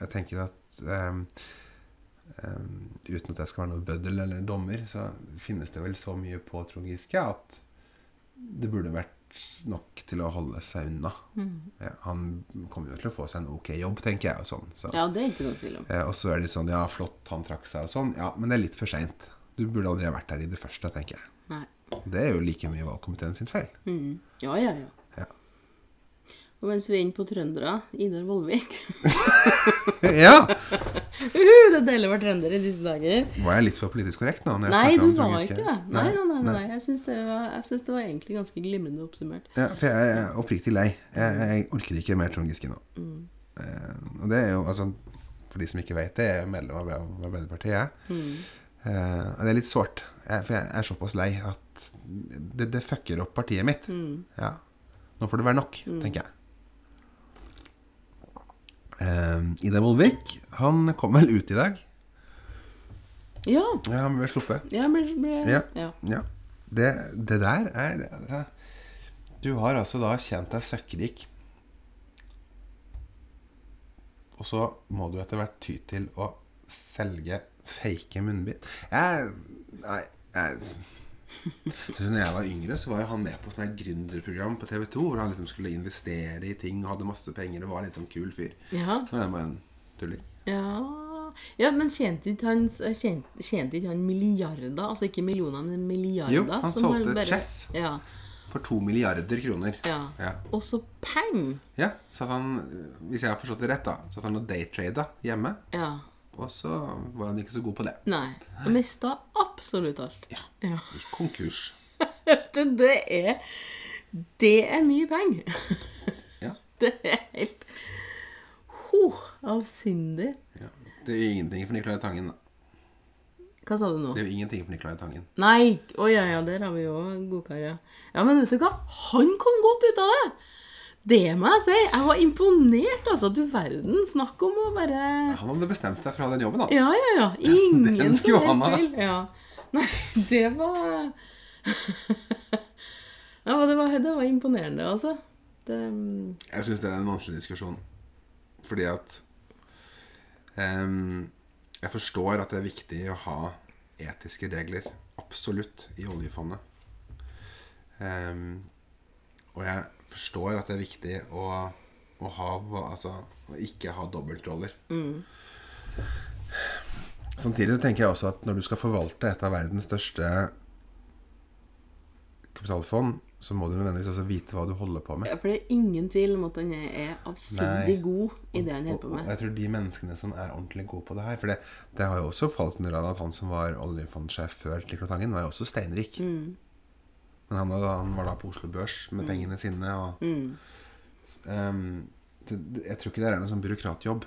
S1: jeg tenker at eh, Ehm, uten at jeg skal være noen bøddel eller dommer, så finnes det vel så mye på Trond Giske at det burde vært nok til å holde seg unna.
S2: Mm.
S1: Ja, han kommer jo til å få seg en ok jobb, tenker jeg, og sånn. Så.
S2: Ja, det er ikke noe tvil om.
S1: Eh, og så er det sånn Ja, flott, han trakk seg og sånn. Ja, men det er litt for seint. Du burde aldri ha vært der i det første, tenker jeg.
S2: Nei.
S1: Det er jo like mye valgkomiteen sin feil. <laughs>
S2: Mm. Ja, ja, ja.
S1: Ja.
S2: Og mens vi er inne på trøndere, Idar Vollvik <laughs>
S1: ja!
S2: Uhu, Det er deilig å være trønder i disse dager.
S1: Var jeg litt for politisk korrekt nå? Når jeg
S2: Nei,
S1: snakket
S2: du
S1: om Trond
S2: var
S1: Giske?
S2: ikke det. Nei, nei, nei. nei. Jeg syns det, var- jeg syns det var egentlig ganske glimrende oppsummert.
S1: Ja, for jeg er oppriktig lei. Jeg, jeg orker ikke mer Trond Giske nå. Eh, og det er jo, altså, for de som ikke vet det, jeg er jo medlem av Arbe- Arbeiderpartiet. jeg. Eh, og det er litt sårt, jeg, for jeg er såpass lei at det, det fucker opp partiet mitt. Ja. Nå får det være nok, tenker jeg. Eh, Ida Bolvik, han kom vel ut i dag?
S2: Ja.
S1: Ja, han ble sluppet.
S2: Jeg ble, ble
S1: Ja.
S2: ja.
S1: Ja. Det, det der er det- Du har altså da kjent deg søkkrik. Og så må du etter hvert ty til å selge fake munnbind. Jeg Nei, jeg Altså, når jeg var yngre, så var jo han med på sånne her gründerprogram på TV 2. Hvor han liksom skulle investere i ting, hadde masse penger og var en litt sånn kul fyr.
S2: Ja.
S1: Så var jeg bare en tulling.
S2: Ja, ja men tjente ikke han, tjente, tjente ikke han milliarder? Altså ikke millioner, men milliarder?
S1: Jo, han
S2: som
S1: solgte Chess.
S2: Ja,
S1: For to milliarder kroner.
S2: ja.
S1: ja.
S2: Og så pang!
S1: Ja, så at han, hvis jeg har forstått det rett da Så at han hadde daytrada hjemme
S2: Ja.
S1: Og så var han ikke så god på det
S2: Nei. Og mista absolutt alt.
S1: Ja.
S2: ja.
S1: Gikk Konkurs
S2: <laughs> Det, det er Det er mye penger.
S1: Ja.
S2: <laughs> Det er helt Huh, avsindig.
S1: ja. Det er jo ingenting for Nicolai Tangen da
S2: Hva sa du nå?
S1: Det er jo ingenting for Nicolai Tangen
S2: Nei! Å ja, ja, der har vi jo godkar, ja. Ja, men vet du hva? Han kom godt ut av det! Det må jeg si. Jeg var imponert, altså. Du verden. Snakk om å bare
S1: Han hadde bestemt seg for å ha den jobben da
S2: Ja, ja,
S1: <laughs>
S2: ja. Ingen
S1: Den
S2: som
S1: skulle
S2: helst
S1: han ha.
S2: tvil. Ja. Nei, det var <laughs> Ja, men det var, det var imponerende, altså. Det,
S1: Jeg synes det er en vanskelig diskusjon Fordi at ehm, Jeg forstår at det er viktig å ha etiske regler Absolutt i oljefondet Ehm, Og jeg forstår at det er viktig å, å ha Altså å ikke ha dobbeltroller Samtidig så tenker jeg også at når du skal forvalte et av verdens største kapitalfond, så må du nødvendigvis også vite hva du holder på med.
S2: ja, for det er ingen tvil om at han er avsindig
S1: Nei.
S2: god i det han holder på
S1: Og, og
S2: med.
S1: jeg tror de menneskene som er ordentlig gode på det her For det, det har jo også falt under radaren at han som var oljefondsjef før Nicolai Tangen, var jo også steinrik.
S2: Mm.
S1: Men han, hadde- han var da på Oslo Børs med pengene sine og
S2: Mm.
S1: S- ehm, så det- Jeg tror ikke det er noen sånn byråkratjobb.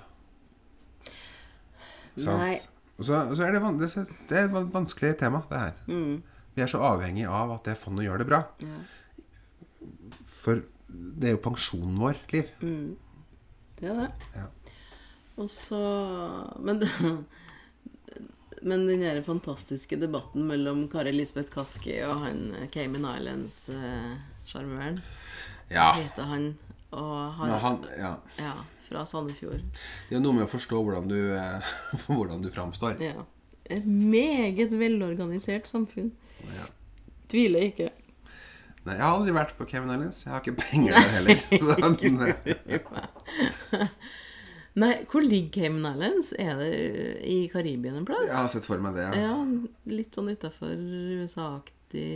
S1: Sant?
S2: Nei.
S1: Og Og så, og så er det, van det, det er et van- vanskelig tema, det her.
S2: Mm.
S1: Vi er så avhengig av at det fondet gjør det bra.
S2: Ja.
S1: For det er jo pensjonen vår, Liv.
S2: Mm. Det er det.
S1: Ja.
S2: Og så Men, <laughs> men den der fantastiske debatten mellom Kari Elisabeth Kaski og han eh, Cayman Islands-sjarmøren
S1: Ja.
S2: heter han. Og han,
S1: Nå, han, ja.
S2: Ja, fra Sandefjord.
S1: Det er noe med å forstå hvordan du, eh, <laughs> hvordan du framstår.
S2: Ja. Et meget velorganisert samfunn.
S1: Ja.
S2: Tviler ikke.
S1: Nei, jeg har aldri vært på Cayman Islands. Jeg har ikke penger der heller. <laughs> Så, eh, den-
S2: Nei, hvor ligger Cayman Islands? Er det eh, i Karibien en plass?
S1: jeg har sett for meg det. Ja.
S2: Ja, litt sånn utafor USA-aktig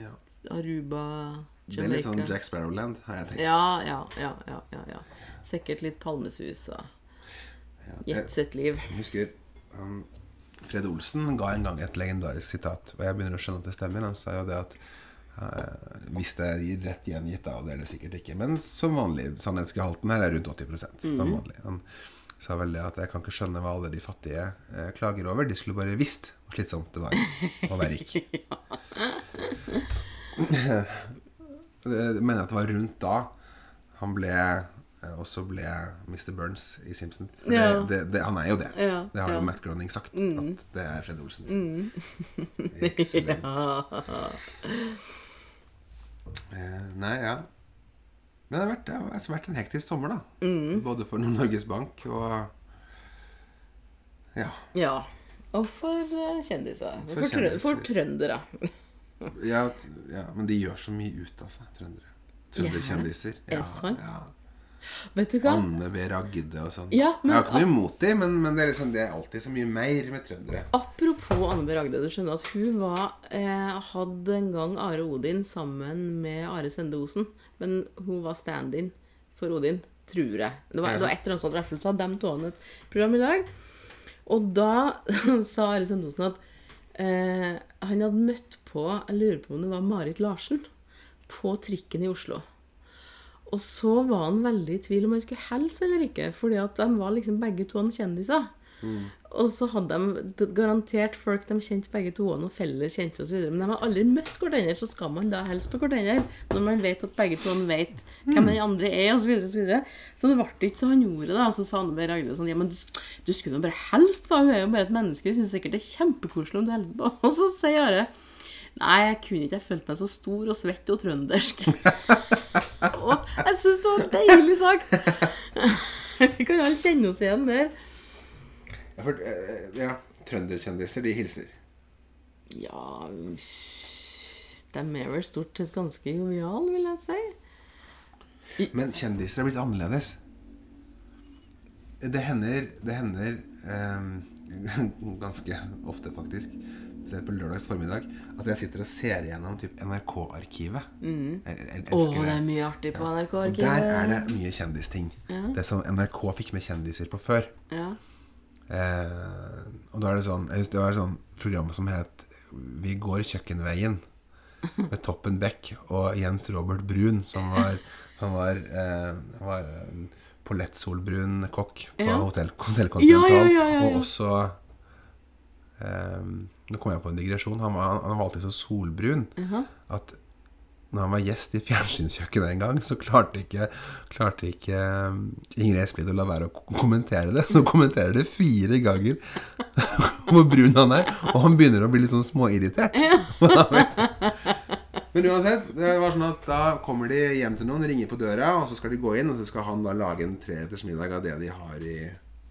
S1: Ja.
S2: Aruba,
S1: Det er litt
S2: Jamaica.
S1: sånn Jack Sparrow-land, har jeg tenkt.
S2: Ja, ja, ja, ja, ja, ja. Sikkert litt palmesus og
S1: Ja,
S2: jetset-liv.
S1: <laughs> Jeg husker um, Fred Olsen ga en gang et legendarisk sitat, og jeg begynner å skjønne at det stemmer. Han sa jo det at eh, hvis det er rett gjengitt, da, og det er det sikkert ikke, men som vanlig, sannhetsgehalten her er rundt 80
S2: Mhm.
S1: som vanlig. Han sa vel det at jeg kan ikke skjønne hva alle de fattige eh, klager over, de skulle bare visst hvor slitsomt det var å være
S2: <laughs>
S1: rik. Jeg mener at det var rundt da han ble eh, også ble Mr. Burns i Simpsons. For
S2: Ja.
S1: Det, det, det, han er jo det.
S2: Ja,
S1: det har
S2: ja. Mhm.
S1: jo Matt Groening sagt, at det er Fred Olsen. Excellent.
S2: ja.
S1: Eh, Nei, ja. Men det har vært, det har altså vært en hektisk sommer, da.
S2: Mm.
S1: Både for Norges Bank og ja.
S2: ja. Og for eh, kjendiser.
S1: For
S2: For, trø
S1: kjendiser.
S2: for trøndere.
S1: Ja, t- ja. Men de gjør så mye ut av seg, trøndere. Trønderkjendiser.
S2: Er det sant?
S1: ja.
S2: Vet du hva?
S1: Anne B. Ragde og sånn.
S2: Ja, men-
S1: jeg har ikke noe imot dem, men, men det, er liksom, det er alltid så mye mer med trøndere.
S2: Apropos Anne B. Ragde. Du skjønner at hun var, eh, hadde en gang Are Odin sammen med Are Sende Osen. Men hun var stand-in for Odin, tror jeg. Det var, det var et eller annet sånt i hvert fall. Så hadde de to et program i dag. Og da <laughs> sa Are Sende Osen at eh, han hadde møtt på Jeg lurer på om det var Marit Larsen. På trikken i Oslo. Og så var han veldig i tvil om han skulle helse eller ikke, fordi at de var liksom begge to han kjendiser. Og så hadde de d- garantert folk de kjente begge to, og noen felles kjente osv. Men de har aldri møtt hverandre, så skal man da helse på hverandre når man vet at begge to vet hvem den andre er, osv. Så, videre, og så, videre. så det ble ikke så han gjorde det. Og så sa Anne B. Ragde sånn Ja, men du, du skulle nå bare helst på Hun er jo bare et menneske, hun syns sikkert det er kjempekoselig om du helser på <laughs> Og så sier Are Nei, jeg kunne ikke. Jeg følte meg så stor og svett og trøndersk. <laughs> Og jeg syns det var deilig sagt. <laughs> Vi kan jo alle kjenne oss igjen der.
S1: Ja, for, eh, ja, trønderkjendiser, de hilser.
S2: Ja De er vel stort sett ganske joviale, vil jeg si.
S1: Men kjendiser er blitt annerledes. Det hender, det hender eh, <laughs> ganske ofte, faktisk, spesielt på lørdags formiddag, at jeg sitter og ser gjennom typ NRK-arkivet. Jeg, jeg, jeg
S2: Å,
S1: elsker
S2: Mm. det
S1: det.
S2: er mye artig på
S1: Og der er
S2: NRK-arkivet.
S1: det mye kjendisting. Det som NRK fikk med kjendiser på før.
S2: Ja.
S1: Eh, og da er det sånn jeg husker Det var et sånn program som het Vi går kjøkkenveien. Med Toppen Beck og Jens Robert Brun, som var Han var, eh, han var eh, pollettsolbrun kokk på
S2: Ja.
S1: hotell, Hotell Continental.
S2: Ja, ja, ja, ja, ja.
S1: Og også eh, Nå kom jeg på en digresjon. Han var, han var alltid så solbrun at når han var gjest i fjernsynskjøkkenet en gang, så klarte ikke, klarte ikke um, Ingrid Espelid å la være å ko- kommentere det. Så hun kommenterer det fire ganger <laughs> hvor brun han er, og han begynner å bli litt sånn småirritert. <laughs> Men uansett, det var sånn at da kommer de hjem til noen, ringer på døra, og så skal de gå inn, og så skal han da lage en treretters middag av det de har i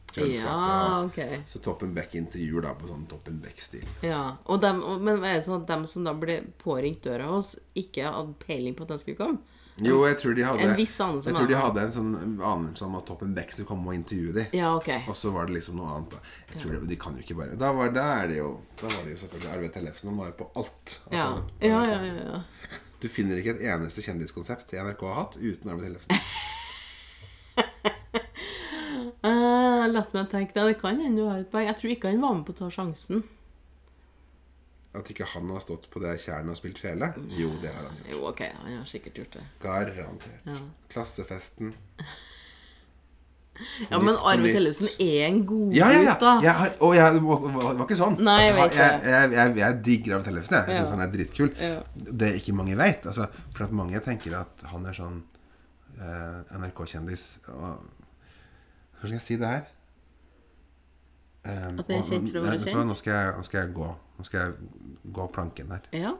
S2: ja,
S1: kjøleskapet.
S2: ok.
S1: Så Toppen Beck intervjuer da på sånn Toppen Beck-stil.
S2: Ja. Og dem, og, men er det sånn at dem som da ble påringt døra hos, ikke hadde peiling på at de skulle komme?
S1: Jo, jeg tror de hadde
S2: En viss anelse om
S1: Jeg tror de
S2: hva-
S1: hadde en sånn anelse om at Toppen Beck skulle komme og intervjue dem.
S2: Ja, ok.
S1: Og så var det liksom noe annet. da Jeg tror det, De kan jo ikke bare Da var, da er det jo Da var det jo selvfølgelig Arve Tellefsen. Han var jo på alt.
S2: Ja,
S1: Altså,
S2: ja, ja. ja, ja.
S1: Du finner ikke et eneste kjendiskonsept NRK har hatt uten Arve Tellefsen.
S2: <laughs> Eh, la meg tenke deg, det kan hende du har et poeng. Jeg tror ikke han var med på å ta sjansen.
S1: At ikke han har stått på det tjernet og spilt fele? Jo, det har han gjort.
S2: Jo, ok, han har sikkert gjort det.
S1: Garantert.
S2: Ja.
S1: Klassefesten.
S2: Ja, men
S1: Litt-
S2: Arve
S1: litt-
S2: Tellefsen er en god
S1: Ja, ja,
S2: gutt, da.
S1: ja. Jeg har, og jeg det var, var var ikke sånn.
S2: Nei, jeg vet
S1: jeg,
S2: det.
S1: jeg, jeg, jeg digger Arve Tellefsen. Jeg, jeg syns
S2: Ja.
S1: han er dritkul.
S2: Ja.
S1: Det ikke mange veit. Altså, for at mange tenker at han er sånn eh, NRK-kjendis og Hvordan skal jeg si det her? Um,
S2: At jeg er kjent for å være kjent?
S1: Nå skal jeg, nå skal jeg gå. Nå skal jeg gå planken her.
S2: Ja.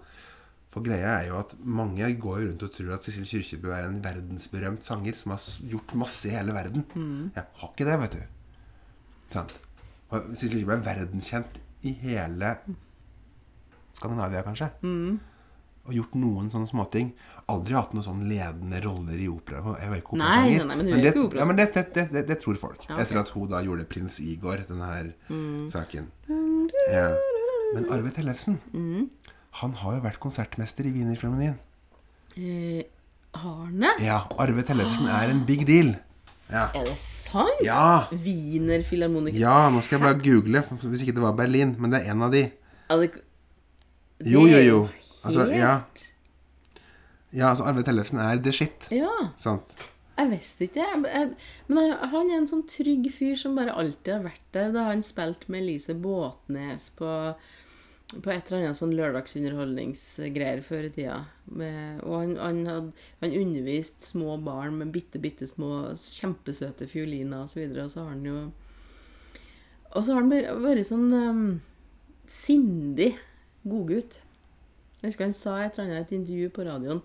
S1: For greia er jo at mange går jo rundt og tror at Sissel Kyrkjebø er en verdensberømt sanger som har s- gjort masse i hele verden.
S2: Mm.
S1: Jeg har ikke det, vet du. Sant? Og Sissel Kyrkjebø er verdenskjent i hele Skandinavia, kanskje.
S2: Mm.
S1: Og gjort noen sånne småting. Aldri hatt noen sånne ledende roller i opera. Jeg er jo ikke
S2: Nei,
S1: operasanger.
S2: nei, nei, men hun er
S1: det,
S2: ikke opera-
S1: ja, men det, det, det, det, det tror folk.
S2: ok. Mm.
S1: Etter at hun da gjorde Prins Igor, denne her saken. Ja. Men Arve Tellefsen
S2: Mm.
S1: han har jo vært konsertmester i Wienerfilharmonien.
S2: Eh, Arne?
S1: Ja, Arve Tellefsen er en big deal. Ja.
S2: Er det sant?
S1: Ja.
S2: Wiener Filharmoniker.
S1: ja, nå skal jeg bare google, for- hvis ikke det var Berlin. Men det er en av de.
S2: Er det-
S1: Jo,
S2: det
S1: jo,
S2: er
S1: jo. Altså,
S2: helt-
S1: ja. Ja, altså Arve Tellefsen er the shit.
S2: Ja,
S1: Sant?
S2: jeg visste ikke det. Jeg- Men han- han er en sånn trygg fyr som bare alltid har vært der. Da han spilte med Elise Båtnes på, på et eller annet sånn lørdagsunderholdningsgreier før i tida. Med, og han, han, hadde, han underviste små barn med bitte, bitte små, kjempesøte fioliner osv. Og, så videre, og så har han jo Og så har han bare vært sånn um, sindig godgutt. Jeg husker han sa et eller annet i et intervju på radioen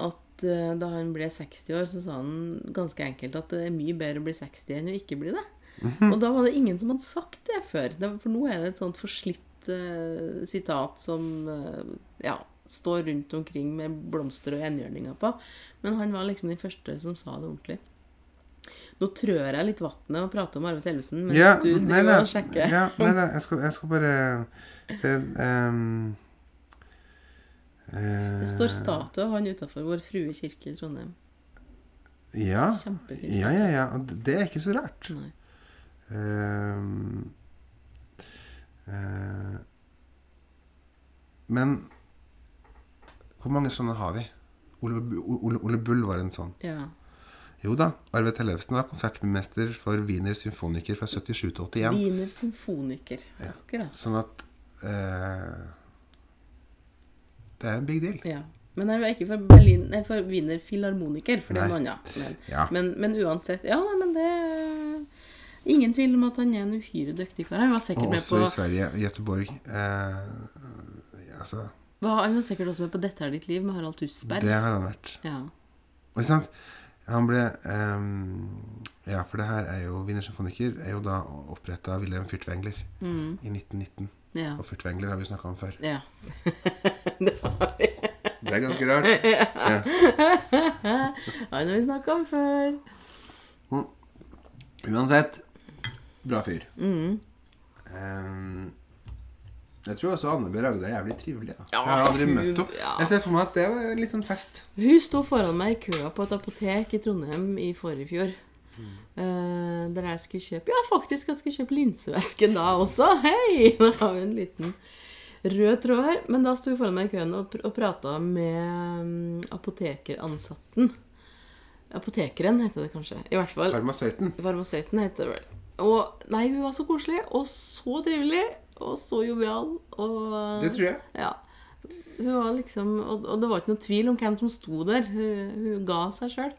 S2: at eh, da han ble 60 år, så sa han ganske enkelt at det er mye bedre å bli 60 enn å ikke bli det.
S1: Mhm.
S2: Og da var det ingen som hadde sagt det før. Det, for nå er det et sånt forslitt eh, sitat som eh, ja, står rundt omkring med blomster og enhjørninger på. Men han var liksom den første som sa det ordentlig. Nå trør jeg litt vannet og prater om Arve Tellefsen mens
S1: Ja,
S2: du
S1: nei
S2: driver
S1: da.
S2: og sjekker.
S1: Ja, nei da. Jeg skal, jeg skal bare det, ehm, eh,
S2: Det står statue av han utafor Vår Frue kirke i Trondheim.
S1: eh, Ja.
S2: Kjempefint.
S1: Ah, Ja, ja, ja. Og det- Det er ikke så rart.
S2: Nei.
S1: Ehm, eh, men hvor mange sånne har vi? Ole, Bu- Ole, Ole Bull var en sånn.
S2: Ja.
S1: Jo da, Arve Tellefsen var konsertmester for Wiener Symfoniker fra 77 til 81.
S2: Wiener symfoniker. Akkurat.
S1: Sånn at eh, Det er en big deal.
S2: Ja. Men han var ikke for, Berlin, nei, for Wiener Filharmoniker, for det er noe annet. Men,
S1: Ja.
S2: men, men uansett Ja, nei, men det Ingen tvil om at han er en uhyre dyktig kar. Han var sikkert
S1: Og
S2: med
S1: også
S2: på
S1: i Sverige, Göteborg. Eh, altså,
S2: hva, Han var sikkert også med på 'Dette er ditt liv' med Harald Tusberg.
S1: det har han vært.
S2: Ja.
S1: Og ikke sant? Han ble ehm, Ja, for det her er jo Wiener Symfoniker er jo da oppretta av Wilhelm Furtwängler i 1919.
S2: Mm, Ja.
S1: Og Furtwängler har vi snakka om før.
S2: ja. <laughs>
S1: Det er ganske rart.
S2: <laughs> Han har vi snakka om før.
S1: Uansett bra fyr.
S2: Mm.
S1: Ehm, jeg tror også Anne B. Ragde er jævlig trivelig. Da.
S2: Ja,
S1: jeg har aldri
S2: hun-
S1: møtt henne.
S2: ja.
S1: Jeg ser for meg at det var litt sånn fest.
S2: Hun sto foran meg i køa på et apotek i Trondheim i forrige fjor. Eh, der jeg skulle kjøpe Ja, faktisk, jeg skulle kjøpe linsevæske da også. Hei! <laughs> Da har vi en liten rød tråd her. Men da sto hun foran meg i køen og, pr og prata med mm, apotekeransatten. Apotekeren heter det kanskje. I hvert fall.
S1: Farmasøyten.
S2: Farmasøyten heter det vel. Og nei, hun var så koselig, og så trivelig, og så jovial, og
S1: Det tror jeg.
S2: ja. Hun var liksom, og, og det var ikke noe tvil om hvem som sto der. Hun, hun ga seg sjøl.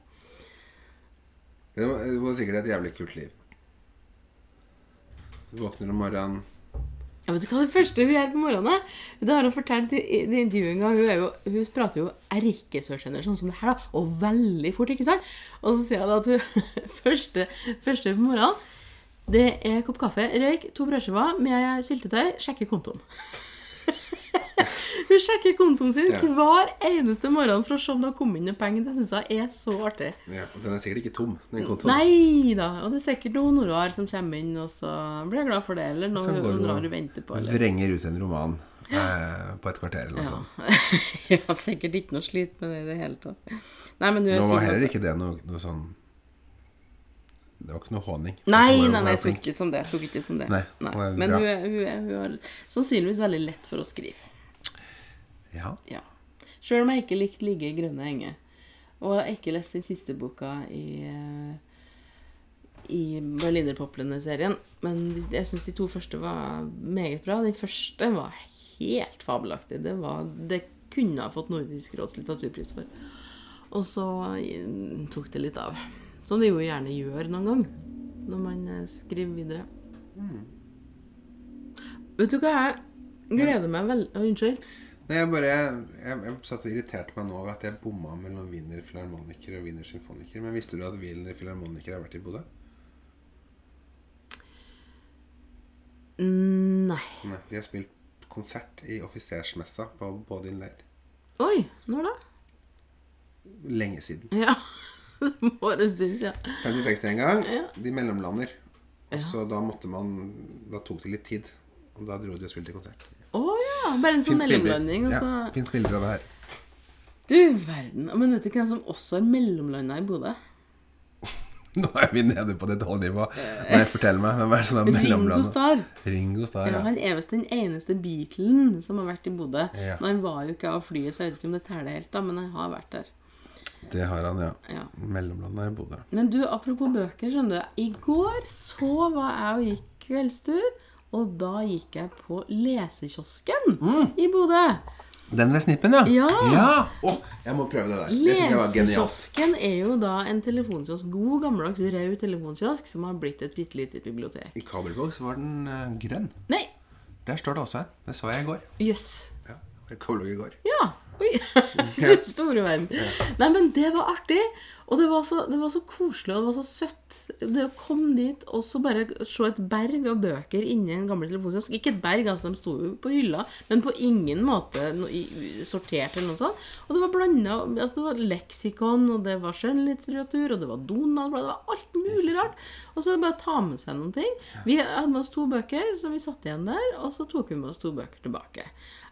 S1: Det var, det var sikkert et jævlig kult liv. Du våkner om morgenen
S2: Ja, vet du hva det første hun gjør på morgenen? er? Det har hun fortalt i, i det intervjuet en gang. Hun, er jo, hun prater jo erkesørstjender, sånn som det her, da, og veldig fort. ikke sant? Og så sier hun at hun <laughs> første, første på morgenen det er en kopp kaffe, røyk, to brødskiver med syltetøy, sjekke kontoen. <laughs> hun sjekker kontoen sin
S1: Ja.
S2: hver eneste morgen for å se om det har kommet inn noen penger. Det syns jeg er så artig.
S1: ja, og Den er sikkert ikke tom, den kontoen.
S2: Nei da. Og det er sikkert noe honorar som kommer inn, og så blir jeg glad for det. Eller noe
S1: Som går
S2: honorar
S1: og
S2: du venter på. Eller.
S1: vrenger ut en roman eh, på et kvarter eller noe
S2: Ja. <laughs>
S1: sånt.
S2: jeg har sikkert ikke noe slit med det i det hele tatt. Nei, men du er
S1: Nå var
S2: fin,
S1: heller
S2: altså.
S1: ikke det noe, noe sånn Det var ikke noe håning. Hun var-
S2: Nei, nei,
S1: hun
S2: nei,
S1: var
S2: jeg tok
S1: flink.
S2: ikke som det. jeg Tok ikke som det.
S1: Nei, hun er
S2: Men
S1: bra.
S2: hun er, hun, er, hun har sannsynligvis veldig lett for å skrive.
S1: Ja.
S2: Ja. Sjøl om jeg ikke likte 'Ligge i grønne enger'. Og jeg har ikke lest den siste boka i eh, i Berlinerpoplene-serien. Men jeg syns de to første var meget bra. Den første var helt fabelaktig. Det, var, det kunne ha fått Nordisk råds litteraturpris for. Og så eh, tok det litt av. Som det jo gjerne gjør noen gang når man eh, skriver videre. Vet du hva jeg gleder meg veldig Unnskyld.
S1: Nei, jeg bare jeg, jeg satt og irriterte meg nå over at jeg bomma mellom Wiener filharmoniker og Wiener symfoniker. Men visste du at Wiener filharmoniker har vært i Bodø?
S2: Mm, Nei.
S1: Nei, de har spilt konsert i offisersmessa på Bådin leir.
S2: Oi, når da?
S1: Lenge siden.
S2: <laughs> Ja. Det må være en stund siden.
S1: 50-60 en gang.
S2: Ja.
S1: De mellomlander. Og så da måtte man Da tok det litt tid. Og da dro de og spilte konsert.
S2: Å ja. Bare en sånn
S1: Finnes bilder.
S2: mellomlanding. altså. Og
S1: Ja,
S2: så...
S1: Fins bilder av det her. <laughs>
S2: Du verden. Men vet du hvem som også er mellomlanda i Bodø?
S1: Nå er vi nede på detaljnivå. Nei, fortell meg, hvem er det som er
S2: Ringo
S1: mellomlandet?
S2: Starr.
S1: Ringo Starr.
S2: Ja,
S1: Ja.
S2: han er visst den eneste Beatlen som har vært i Bodø.
S1: Ja.
S2: Nå, Han var jo ikke av flyet, så jeg vet ikke om det teller helt, da, men han har vært der.
S1: Det har han, ja.
S2: Ja.
S1: Mellomlandet i Bodø.
S2: Men du, apropos bøker, skjønner du. I går så var jeg og gikk kveldstur, og da gikk jeg på lesekiosken
S1: Mm.
S2: i Bodø.
S1: Den ved snippen, ja?
S2: Ja.
S1: Å, jeg må prøve det der. Det synes jeg var genialt.
S2: Lesekiosken er jo da en telefonkiosk, god gammeldags rød telefonkiosk, som har blitt et bitte lite bibliotek.
S1: I Kabelvåg så var den eh, grønn.
S2: Nei,
S1: Der står det også. Det så jeg i går.
S2: jøss.
S1: Ja, det var i Kabelvåg i går.
S2: Ja. Oi. Du store verden. Nei, men det var artig. Og det var, så, det var så koselig, og det var så søtt. Det å komme dit og så bare se et berg av bøker inni en gammel telefonkiosk. Ikke et berg, altså, de sto jo på hylla, men på ingen måte no, i, sortert eller noe sånt. Og det var blanda altså, Det var leksikon, og det var skjønnlitteratur, og det var Donald-blad, det var alt mulig rart. Og så er det bare å ta med seg noen ting. Vi hadde med oss to bøker, så vi satt igjen der, og så tok vi med oss to bøker tilbake.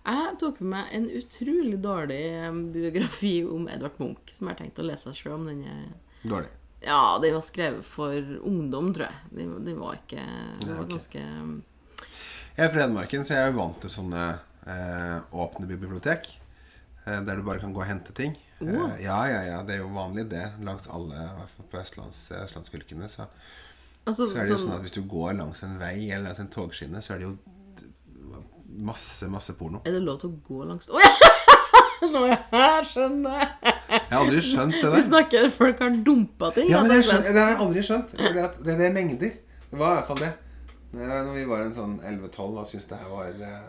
S2: Jeg tok med meg en utrolig dårlig eh, biografi om Edvard Munch, som jeg har tenkt å lese sjøl om den er
S1: Dårlig.
S2: Ja, den var skrevet for ungdom, tror jeg. Den den var ikke Det var
S1: ok.
S2: ganske
S1: Jeg er fra Hedmarken, så jeg er jo vant til sånne eh, åpne bibliotek. Eh, der du bare kan gå og hente ting.
S2: Åh.
S1: Eh, ja, ja, ja. Det er jo vanlig, det. Langs alle, i hvert fall på østlands, østlandsfylkene. Så,
S2: altså,
S1: så er det jo
S2: sånn-
S1: sånn at hvis du går langs en vei eller langs en togskinne, så er det jo d- masse, masse porno.
S2: Er det lov til å gå langs Å ja! <laughs> Nå er jeg her, skjønner jeg.
S1: Jeg har aldri skjønt det
S2: Vi
S1: der.
S2: snakker folk har dumpa ting.
S1: Ja,
S2: da,
S1: men jeg
S2: rett og slett.
S1: skjønner, det har jeg aldri skjønt. Fordi at det, det er mengder. Det var i hvert fall det. Det var Når vi var en sånn 11-12 og syntes det her var eh,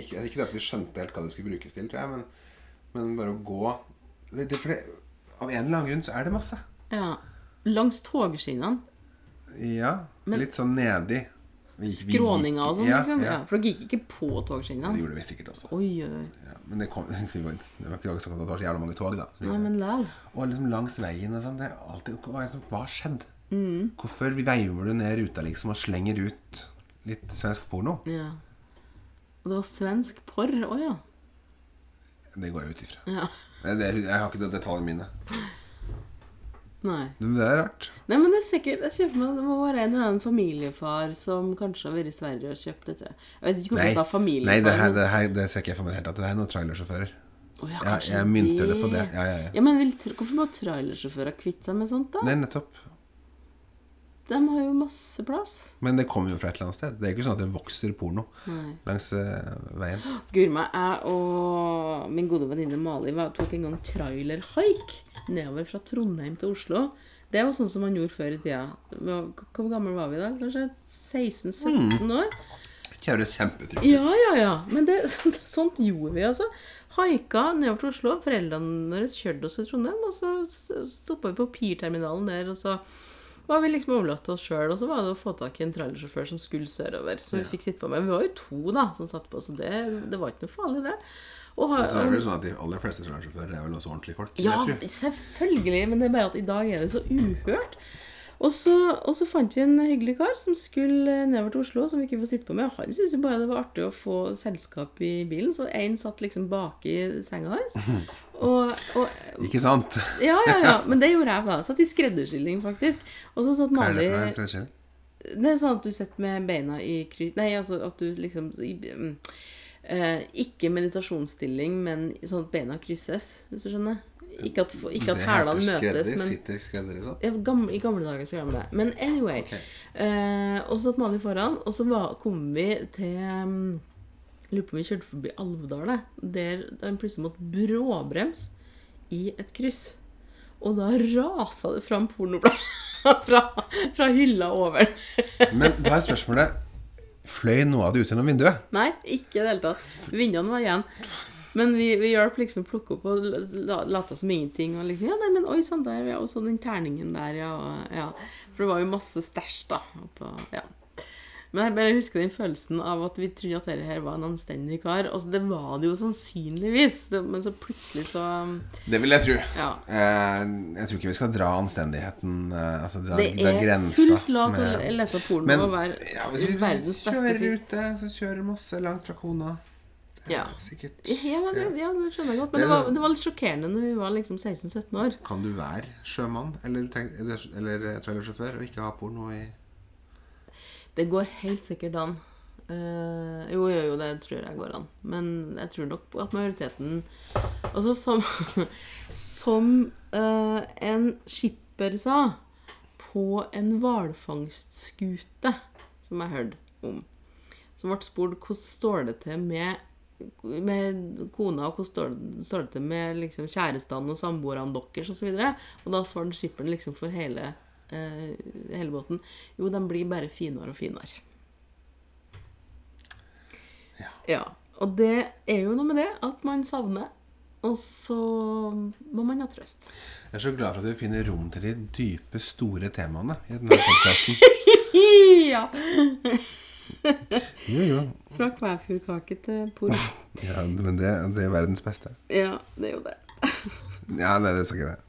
S1: ikke, ikke det at vi skjønte helt hva det skulle brukes til, tror jeg, men, men bare å gå det, det, for det, Av en eller annen grunn så er det masse.
S2: ja. Langs togskinnene.
S1: Ja.
S2: Men-
S1: litt sånn nedi. Vi- vi gikk-
S2: Skråninga og sånn.
S1: Ja,
S2: liksom.
S1: ja.
S2: ja. For dere gikk ikke på
S1: Det
S2: togskinnene.
S1: gjorde vi sikkert også.
S2: Oi, oi, oi.
S1: Ja, men det, kom, <laughs> det var ikke akkurat sånn at det var så jævla mange tog, da.
S2: Nei, men læl.
S1: Og liksom langs veien og sånn. Det er alltid og jeg sånn, Hva skjedde?
S2: Mm.
S1: Hvorfor veiver du ned ruta liksom og slenger ut litt svensk porno?
S2: Ja. Og det var svensk porr Å ja.
S1: Det går jeg ut ifra.
S2: ja.
S1: Men det- Jeg har ikke det detaljene mine.
S2: Nei.
S1: Men Det er rart.
S2: Nei, men det er sikkert Jeg ser for meg at det må være en eller annen familiefar som kanskje har vært i Sverige og kjøpt dette. Jeg vet ikke hvorfor jeg sa familiefar.
S1: Nei det, her,
S2: men-
S1: det, her, det ser ikke jeg for meg i det hele tatt. Det her er noen trailersjåfører.
S2: Å, ja,
S1: Ja,
S2: kanskje
S1: jeg mynter det på det. Ja, ja, ja.
S2: Ja, men vil, tra- hvorfor må trailersjåfører kvitte seg med sånt, da?
S1: Nei, nettopp.
S2: De har jo masse plass.
S1: Men det kommer jo fra et eller annet sted. Det er ikke sånn at det vokser porno
S2: Nei.
S1: langs eh,
S2: <gasps>
S1: veien.
S2: Guri meg, jeg og min gode venninne Mali var- tok en gang trailerhaik nedover fra Trondheim til Oslo. Det var sånn som man gjorde før i tida. Vi var- Hvor gammel var vi da? Kanskje 16-17 år?
S1: Det høres kjempetrygt ut.
S2: Ja, ja, ja. Men det, <laughs> sånt, sånt gjorde vi, altså. Haika nedover til Oslo. Foreldrene våre kjørte oss til Trondheim, og så stoppa vi på Pirterminalen der, og så var vi liksom overlatt til oss sjøl. Og så var det å få tak i en trailersjåfør som skulle sørover. Så vi fikk sitte på med. Vi var jo to da, som satt på, så det, det var ikke noe farlig, det. Og ha-
S1: Og Så er det vel sånn at De aller fleste trailersjåfører er vel også ordentlige folk. vil
S2: ja,
S1: jeg tro.
S2: selvfølgelig, men det er bare at i dag er det så uhørt. Og så, og så fant vi en hyggelig kar som skulle nedover til Oslo, som vi ikke får sitte på med. Han syntes jo bare det var artig å få selskap i bilen, så én satt liksom baki senga hans.
S1: <laughs>
S2: Og, og
S1: Ikke sant?
S2: Ja, ja, ja. Men det gjorde jeg, da. Satt i skredderstilling, faktisk. Og så satt
S1: Hva er
S2: Mali
S1: det for en trailersjåfør?
S2: det er sånn at du sitter med beina i kry... Nei, altså at du liksom i- mm, eh, Ikke meditasjonsstilling, men sånn at beina krysses, hvis du skjønner. Ikke at, ikke at
S1: Det heter
S2: hælene møtes,
S1: skredder,
S2: men
S1: Sitter skredder i sånn?
S2: ja, gam- I gamle dager så gjør man det. Men anyway.
S1: Ok.
S2: Eh, og så satt Mali foran, og så var, kom vi til mm, Lurer på om vi kjørte forbi Alvdal, jeg, der den plutselig måtte bråbrems i et kryss. Og da rasa det fram pornoblad <laughs> fra, fra hylla over.
S1: Men da er spørsmålet Fløy noe av det ut gjennom vinduet?
S2: Nei, ikke i det hele tatt. Vinduene var igjen. Men vi, vi hjalp liksom å plukke opp og la- lata som ingenting. Og liksom, ja, nei, men oi sann, der, ja. Og så den terningen der, ja. Og, ja. For det var jo masse stæsj, da. På, ja. Men jeg bare husker den følelsen av at vi trodde at dette her var en anstendig kar. Og så det var det jo sannsynligvis. Det, men så plutselig så um,
S1: Det vil jeg tro.
S2: Ja.
S1: Eh, jeg tror ikke vi skal dra anstendigheten eh, Altså dra,
S2: Det
S1: dra
S2: er
S1: grensa.
S2: fullt lov til
S1: med-
S2: å lese porno
S1: Men
S2: og være
S1: ja, hvis du
S2: verdens beste
S1: kjører
S2: fyr.
S1: ute, så kjører masse langt fra kona. Det er
S2: Ja.
S1: Sikkert.
S2: Ja, men det, ja, det skjønner jeg godt. Men
S1: Det
S2: det
S1: er
S2: var,
S1: sånn-
S2: det var litt sjokkerende når vi var liksom 16-17 år.
S1: Kan du være sjømann eller, tenk, eller, eller trailersjåfør og ikke ha porno i
S2: Det går helt sikkert an. Eh, jo, jo, jo, det tror jeg går an. Men jeg tror nok at majoriteten Altså som <laughs> Som eh, en skipper sa på en hvalfangstskute, som jeg hørte om, som ble spurt hvordan står det til med med kona, og hvordan står det- står det til med liksom, kjærestene og samboerne deres osv. Og, og da svarte skipperen liksom for hele, eh, hele båten Jo, de blir bare finere og finere.
S1: Ja.
S2: ja. Og det er jo noe med det at man savner, og så må man ha trøst. <laughs>
S1: Jeg er så glad for at vi finner rom til de dype, store temaene i denne podkasten.
S2: Ja!
S1: Jo, jo.
S2: Fra kvæfjordkake til porno.
S1: Ja, men det, det er verdens beste.
S2: Ja, det er jo det.
S1: Ja, nei, det skal ikke det.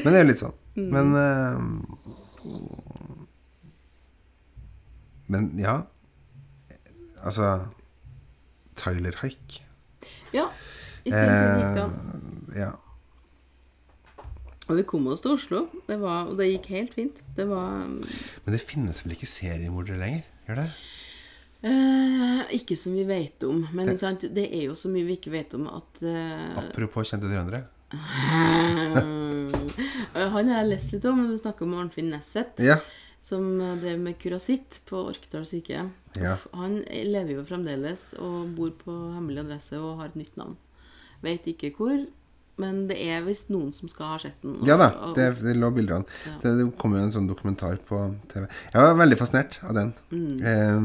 S1: Men det er jo litt sånn. Men eh, Men ja. Altså Tyler Haik.
S2: Ja. I sin tid gikk det an.
S1: Eh, ja.
S2: Og vi kom oss til Oslo, det var, og det gikk helt fint. Det var
S1: Men det finnes vel ikke seriemordere lenger? Gjør det?
S2: eh, ikke som vi vet om. Men ikke sant? det er jo så mye vi ikke vet om at eh,
S1: Apropos kjente trøndere.
S2: eh, Han har jeg lest litt om. men Du snakker om Arnfinn Nesset,
S1: Ja.
S2: som eh, drev med kurasitt på Orkdal sykehjem.
S1: Ja.
S2: Uff, Han lever jo fremdeles og bor på hemmelig adresse og har et nytt navn. Vet ikke hvor, men det er visst noen som skal ha sett den. og-
S1: Ja da,
S2: og-
S1: det, det lå bilder av den. Det, det kom jo en sånn dokumentar på TV. Jeg var veldig fascinert av den. Eh,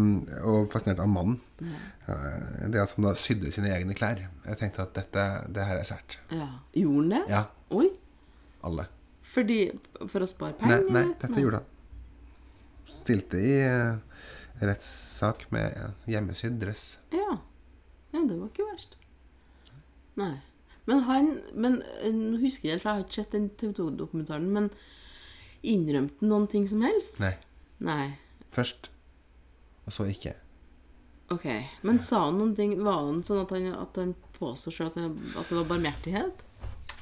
S1: og fascinert av mannen. Eh, det at han da sydde sine egne klær. Jeg tenkte at dette, det her er sært.
S2: ja. Gjorde han det?
S1: Ja,
S2: Oi!
S1: alle.
S2: Fordi, for å spare
S1: Nei,
S2: penger?
S1: nei,
S2: eller?
S1: dette gjorde han. Stilte i eh, rettssak med eh, hjemmesydd dress.
S2: Ja. ja, det var ikke verst. Nei. Men han men, eh, Nå husker jeg helt, for jeg har ikke sett den TV 2-dokumentaren, men innrømte han noen ting som helst?
S1: Nei.
S2: Nei.
S1: Først, og så ikke.
S2: Ok. Men sa han noen ting Var han sånn at han, at han påstod sjøl at, han- at det var barmhjertighet?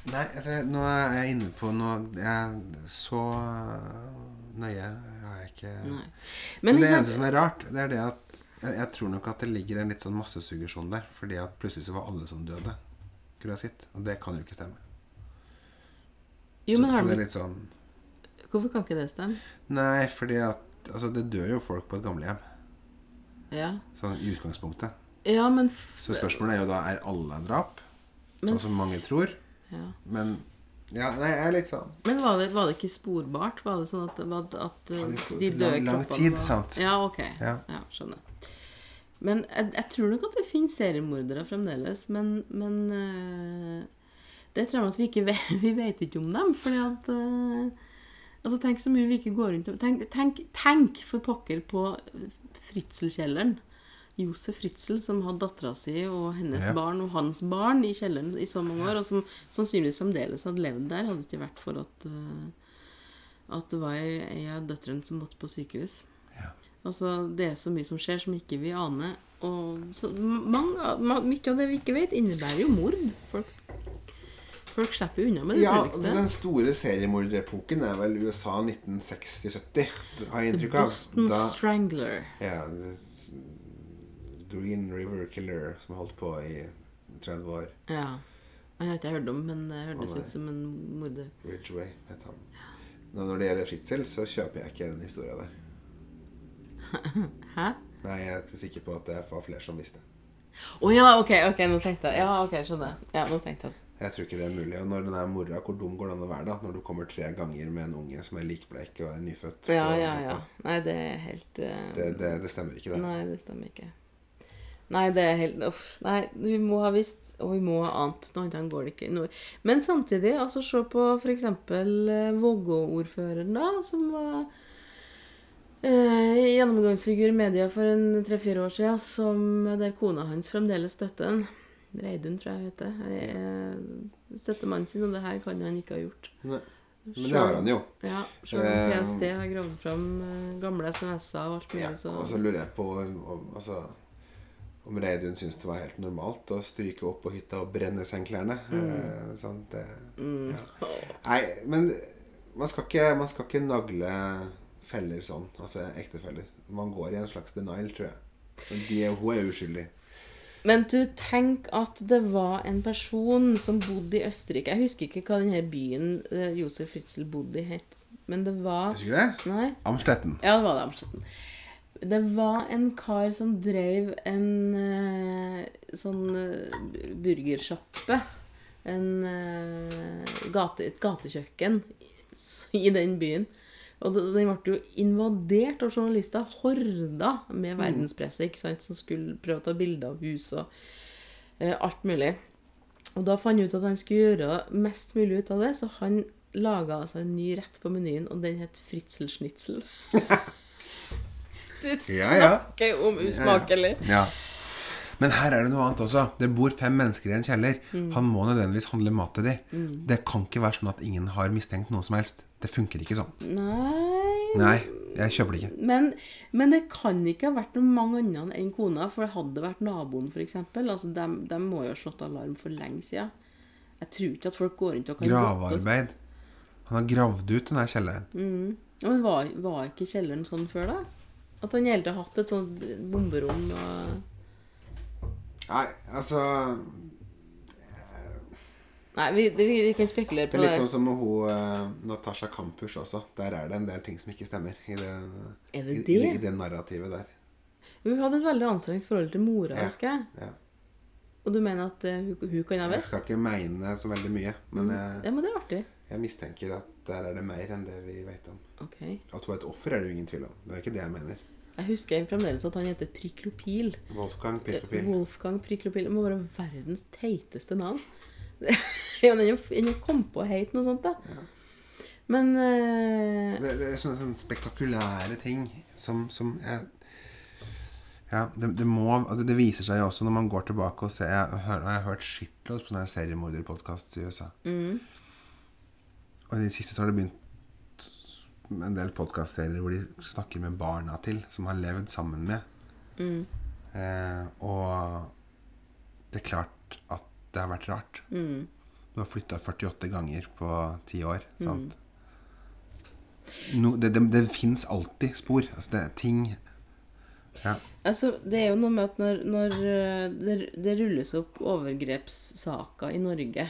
S1: Nei, altså, nå er jeg inne på noe jeg, Så eh, nøye er jeg ikke
S2: Nei.
S1: Men
S2: Men
S1: det
S2: ikke
S1: eneste
S2: sant
S1: som er rart, det er det at jeg, jeg tror nok at det ligger en litt sånn massesuggesjon der. Fordi at plutselig så var alle som døde, kurasitt. Og det kan jo ikke stemme.
S2: Jo,
S1: Så-
S2: men
S1: så
S2: har
S1: det er
S2: han,
S1: litt sånn
S2: Hvorfor kan ikke det stemme?
S1: Nei, fordi at Altså, det dør jo folk på et gamlehjem.
S2: Ja.
S1: Sånn i utgangspunktet.
S2: Ja, men f
S1: Så spørsmålet er jo da er alle drap, sånn som mange tror.
S2: ja.
S1: Men ja, nei, jeg er litt sånn
S2: Men var det, var det ikke sporbart? Var det sånn at, var det- at uh,
S1: det tok
S2: de
S1: så
S2: døde
S1: lang- lang
S2: kroppene
S1: tid,
S2: var-
S1: sant?
S2: Ja, ok. Ja.
S1: Ja.
S2: skjønner. Men jeg, jeg tror nok at det finnes seriemordere fremdeles, men, men eh, det tror jeg at vi ikke vet, <laughs> vi vet ikke om dem, fordi at eh, Altså, tenk så mye vi ikke går rundt om Tenk, tenk, tenk for pokker på Fritzelkjelleren. Josef Fritzel, som hadde dattera si og hennes
S1: Ja.
S2: barn og hans barn i kjelleren i så mange år, og som sannsynligvis fremdeles hadde levd der, hadde det ikke vært for at, eh, at det var ei ei av døtrene som måtte på sykehus.
S1: Ja.
S2: Altså, det er så mye som skjer som ikke vi aner. Og så mange, av- ma- mye av det vi ikke vet, innebærer jo mord. Folk, folk slipper jo unna med det
S1: Ja, altså,
S2: trødeligste.
S1: den store seriemorderepoken er vel USA 1960-70, har jeg inntrykk av.
S2: Boston Strangler.
S1: Ja, det s- Green River Killer som holdt på i 30 år.
S2: Ja. Jeg har ikke hørt om, men det hørtes
S1: Å, nei.
S2: ut som en morder.
S1: Ridgeway het han. Nå, når det gjelder Fritzel, så kjøper jeg ikke den historia der.
S2: Hæ?
S1: Nei, jeg er sikker på at det var flere som visste.
S2: Å ja, OK, ok, nå tenkte jeg Ja, ok, skjønner. jeg. Ja, nå tenkte jeg
S1: Jeg tror ikke det er mulig. Og når den er mora, hvor dum går det an å være da? Når du kommer tre ganger med en unge som er likbleik og er nyfødt?
S2: Ja,
S1: på
S2: ja, ja.
S1: kroppen.
S2: Nei, det er helt eh,
S1: Det, det, det stemmer ikke, det.
S2: Nei, det stemmer ikke. Nei, det er helt Uff. Nei, vi må ha visst, og vi må ha ant. Noe annet går det ikke. Noe. Men samtidig, altså se på f.eks. Vågå-ordføreren, da, som var eh, gjennomgangsfigur i media for en tre-fire år siden, som, eh, der kona hans fremdeles støtter han. Reidun, tror jeg hun heter. Eh, Støtter mannen sin, og det her kan han ikke ha gjort.
S1: Nei. Men det har han jo.
S2: Ja, selv om
S1: Eh,
S2: PST har gravd fram eh, gamle SMS-er og alt mulig,
S1: Ja, altså,
S2: så
S1: og så lurer jeg på om, altså, om Reidun syns det var helt normalt å stryke opp på hytta og brenne sengklærne. Eh, sant? Det,
S2: mm.
S1: ja. Nei, men man skal ikke, man skal ikke nagle feller sånn. Altså ektefeller. Man går i en slags denial, tror jeg. Men de, er- hun er uskyldig.
S2: Men du, tenk at det var en person som bodde i Østerrike. Jeg husker ikke hva denne byen eh, Josef Fritzl bodde i het. Men det var
S1: Husker du det?
S2: Nei?
S1: Amstetten.
S2: Ja, det var det Amstetten. Det var en kar som drev en eh, sånn uh, burgersjappe. En, eh, gate, et gatekjøkken i den byen. Og det- den ble jo invadert av journalister. Horda med verdenspresse ikke sant, som skulle prøve å ta bilder av hus og eh, alt mulig. Og da fant han ut at han skulle gjøre mest mulig ut av det, så han laga altså en ny rett på menyen, og den het fritzelschnitzel. du snakker
S1: <laughs> Ja, ja.
S2: om usmakelig.
S1: Ja. Men her er det noe annet også. Det bor fem mennesker i en kjeller. Han må nødvendigvis handle mat til de. Det kan ikke være sånn at ingen har mistenkt noe som helst. Det funker ikke sånn.
S2: Nei
S1: Nei, jeg kjøper det ikke.
S2: men, men det kan ikke ha vært noe mange annen enn kona, for det hadde vært naboen, f.eks. Altså, de, må jo ha slått alarm for lenge siden. Jeg tror ikke at folk går rundt og kan godte-
S1: Gravearbeid. Han har gravd ut den her kjelleren.
S2: Ja, men Mm. var, var ikke kjelleren sånn før, da? At han hele tiden har hatt et sånt bomberom og
S1: Nei, altså
S2: Nei, vi, det, vi, vi kan spekulere
S1: Det
S2: på
S1: er
S2: det.
S1: litt sånn som med hun eh, Natasha Kampusch også. Der er det en del ting som ikke stemmer i det,
S2: Er det
S1: i, i,
S2: det?
S1: i det narrativet der.
S2: Hun hadde et veldig anstrengt forhold til mora,
S1: sånn- Ja.
S2: husker jeg.
S1: Ja.
S2: Og du mener at eh, hun, hun kan ha
S1: Jeg
S2: visst? Mm.
S1: skal ikke meine så veldig mye, men
S2: Ja,
S1: jeg,
S2: men det er artig.
S1: jeg mistenker at der er det mer enn det vi vet om.
S2: Ok.
S1: At hun er et offer, er det jo ingen tvil om. Det er ikke det jeg mener.
S2: Jeg husker fremdeles at han heter Priklopil.
S1: Wolfgang Pirkopil.
S2: Wolfgang Priklopil må være verdens teiteste navn. <laughs> Ja, men Enn å- enn å komme på å hete noe sånt, da. Men eh,
S1: Det, det er sånne, sånne spektakulære ting som, som jeg ja, det, det, må, altså, det viser seg jo også når man går tilbake og ser Jeg, hører, jeg har hørt shitloads på sånne seriemorderpodkaster i USA. Og i det siste så har det begynt med en del podkastserier hvor de snakker med barna til, som har levd sammen med. Eh, og det er klart at det har vært rart. Du har flytta 48 ganger på ti år. Sant? No, det det, det fins alltid spor. Altså, det er ting ja.
S2: altså, det er jo noe med at når, når eh, det, det rulles opp overgrepssaker i Norge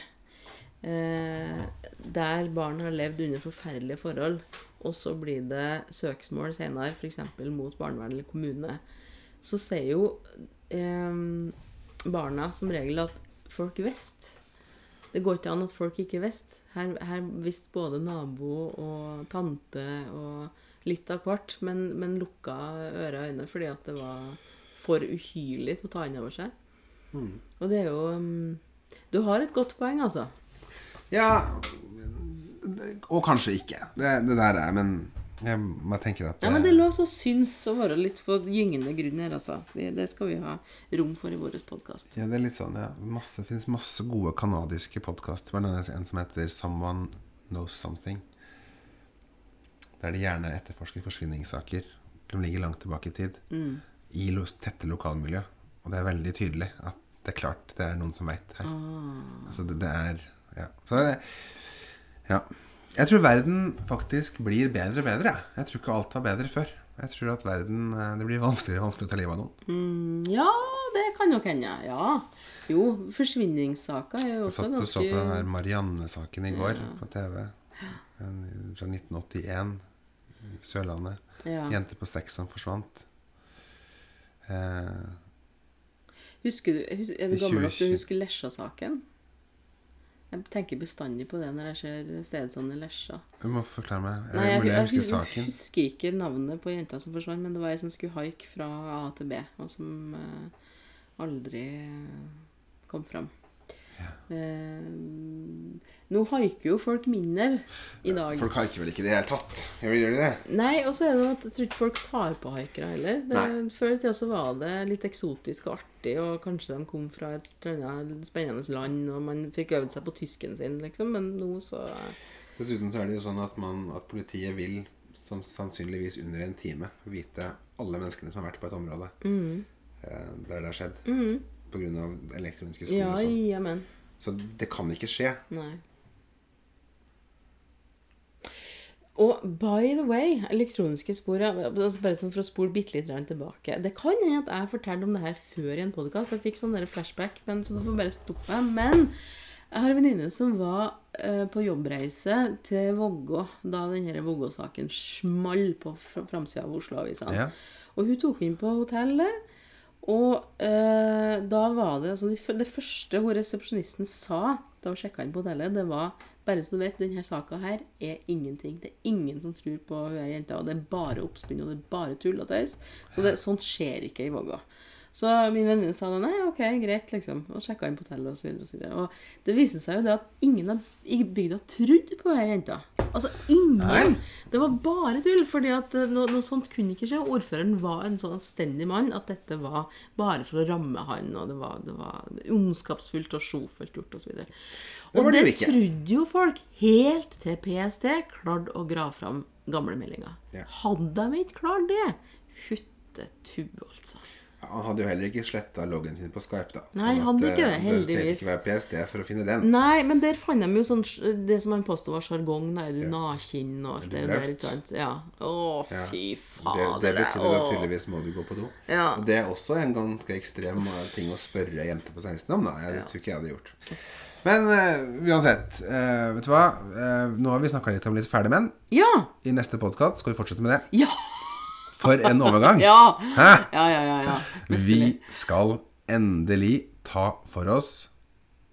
S2: eh, der barn har levd under forferdelige forhold, og så blir det søksmål senere, f.eks. mot barnevern eller kommune, så sier jo eh, barna som regel at folk visste. Det går ikke an at folk ikke visste. Her, her visste både nabo og tante og litt av hvert, men, men lukka ører og øyne fordi at det var for uhyrlig til å ta inn over seg.
S1: Mm.
S2: Og det er jo um, Du har et godt poeng, altså.
S1: ja Og kanskje ikke. Det, det der er Men jeg bare tenker at
S2: Ja, men det er lov til å synes og være litt på gyngende grunn her, altså. Det, det skal vi ha rom for i vår podkast.
S1: Ja, det er litt sånn, ja. Masse, det finnes masse gode kanadiske podkaster. Blant annet en som heter 'Someone Knows Something'. Der de gjerne etterforsker forsvinningssaker som ligger langt tilbake i tid. I lo tette lokalmiljø. Og det er veldig tydelig at det er klart det er noen som veit her. Altså, det, det er Ja. Så det, ja. Jeg tror verden faktisk blir bedre og bedre. jeg. Jeg tror ikke alt var bedre før. Jeg tror at verden eh, Det blir vanskeligere og vanskeligere å ta livet av noen.
S2: Mm, Ja, det kan nok hende. Ja. Jo, forsvinningssaker er jo
S1: Jeg
S2: også
S1: satt og så på den
S2: ganske
S1: der Marianne-saken i går på TV. En, fra 1981. Sørlandet.
S2: ja.
S1: Jente på seks som forsvant. Eh,
S2: Husker du, hus- Er du
S1: I
S2: gammel nok til
S1: 2020.
S2: å huske Lesja-saken? Jeg tenker bestandig på det når jeg ser stedsand i Lesja.
S1: du må forklare meg.
S2: Nei,
S1: Er det mulig jeg husker
S2: hus-
S1: saken?
S2: husker ikke navnet på jenta som forsvant, men det var ei som skulle haike fra A til B, og som eh, aldri eh, kom fram. Eh, nå haiker jo folk mindre i dag.
S1: Folk haiker vel ikke i det hele tatt? Gjør de det?
S2: Nei, og så er det noe at jeg tror ikke folk tar på haikere heller. Det,
S1: Nei.
S2: før i tida så var det litt eksotisk og artig, og kanskje de kom fra et eller annet spennende land, og man fikk øvd seg på tysken sin, liksom, men nå så
S1: Dessuten så er det jo sånn at, man, at politiet vil, som sannsynligvis under en time, vite alle menneskene som har vært på et område
S2: Mm.
S1: eh, der det har skjedd. På grunn av elektroniske skoler
S2: Ja,
S1: og sånn.
S2: jamen.
S1: Så det kan ikke skje.
S2: Nei. Og by the way, elektroniske spor ja, altså Bare sånn for å spole bitte litt grann tilbake. Det kan hende at jeg fortalte om det her før i en podkast. Jeg fikk sånn der flashback, men, så du får bare stoppe. meg. Men jeg har en venninne som var eh, på jobbreise til Vågå da denne Vågå-saken small på fr- framsida av Oslo-avisene.
S1: Ja.
S2: Og hun tok inn på hotellet. Og eh, da var det altså, de f- Det første hun resepsjonisten sa da hun sjekka inn på hotellet, det var bare så du vet, denne saka her er ingenting. Det er ingen som tror på hun her jenta. Og det er bare oppspinn, og det er bare tull og tøys. Så det, sånt skjer ikke i Vågå. Så min venninne sa det. Nei, OK, greit, liksom. Og sjekka inn på hotellet og så videre og så videre. Og det viste seg jo det at ingen av- i bygda trodde på hun her jenta. Altså ingen.
S1: Nei.
S2: Det var bare tull, fordi at eh, noe, noe sånt kunne ikke skje. Ordføreren var en sånn anstendig mann at dette var bare for å ramme han, og det var, det var ondskapsfullt og sjofelt gjort osv. Og, så
S1: Det var
S2: og
S1: det
S2: det
S1: jo ikke.
S2: trodde jo folk helt til PST klarte å grave fram gamlemeldinga.
S1: Ja.
S2: Hadde de ikke klart det? Huttetu, altså.
S1: Ja, Han hadde jo heller ikke sletta loggen sin på Skype, da.
S2: Nei,
S1: Sånn at,
S2: hadde ikke det,
S1: eh, trengte
S2: heldigvis. Mm.
S1: ikke være PST for å finne den.
S2: Nei, men der fant de jo sånn sj- det som han påstod var sjargong. da, Er du naken og alt
S1: du
S2: det der?
S1: blaut?
S2: ikke sant? Ja. Å,
S1: Ja.
S2: fy
S1: Det,
S2: fader.
S1: det betyr jo da
S2: Å.
S1: tydeligvis må du gå på do.
S2: Ja.
S1: Og det er også en ganske ekstrem eh, ting å spørre ei jente på 16 om, da. Jeg tror ikke jeg hadde gjort. Men eh, uansett, eh, vet du hva? Eh, nå har vi snakka litt om litt fæle menn.
S2: Ja!
S1: I neste podkast skal vi fortsette med det.
S2: Ja!
S1: For en overgang!
S2: <laughs> Ja.
S1: Hæ?
S2: Ja, ja, ja. ja.
S1: Vi skal endelig ta for oss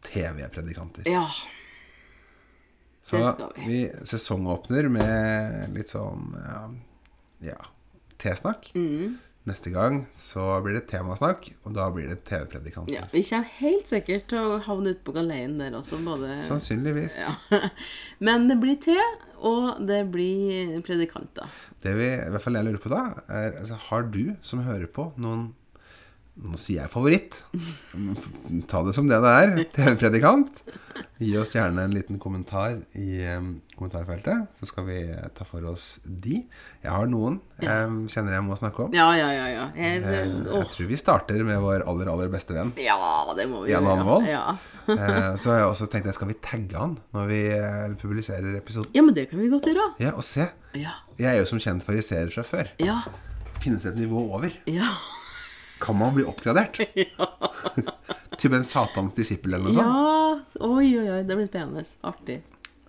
S1: TV-predikanter.
S2: ja.
S1: Så
S2: Det skal vi.
S1: vi sesongåpner med litt sånn ja, ja tesnakk.
S2: Mm.
S1: Neste gang så blir det temasnakk, og da blir det TV-predikanter.
S2: ja. Vi kommer helt sikkert til å havne ute på galeien der også, både
S1: Sånn. Sannsynligvis.
S2: <laughs> Men det blir te, og det blir predikanter.
S1: Det vi, i hvert fall jeg lurer på da, er altså, har du som hører på noen Nå sier jeg favoritt. <laughs> Ta det som det det
S2: <laughs>
S1: er. TV-predikant. Gi oss gjerne en liten kommentar i em, kommentarfeltet, så skal vi ta for oss de. Jeg har noen jeg kjenner jeg må snakke om.
S2: Ja, ja, ja. ja. Jeg,
S1: Eh, Jeg
S2: åh.
S1: tror vi starter med vår aller, aller beste
S2: <laughs>
S1: venn.
S2: ja det må vi
S1: Jan Hanvold?
S2: Ja.
S1: Eh, Så har jeg også tenkt at skal vi tagge han når vi eh, publiserer episoden?
S2: ja, men det kan vi godt gjøre.
S1: Ja, og se.
S2: Ja.
S1: Jeg er jo som kjent fariseer fra før.
S2: Ja.
S1: Finnes det et nivå over?
S2: Ja.
S1: Kan man bli
S2: <laughs>
S1: oppgradert? <laughs> Typ en satans disippel eller noe sånt?
S2: ja. Oi, oi, oi. Det blir spennende. Artig.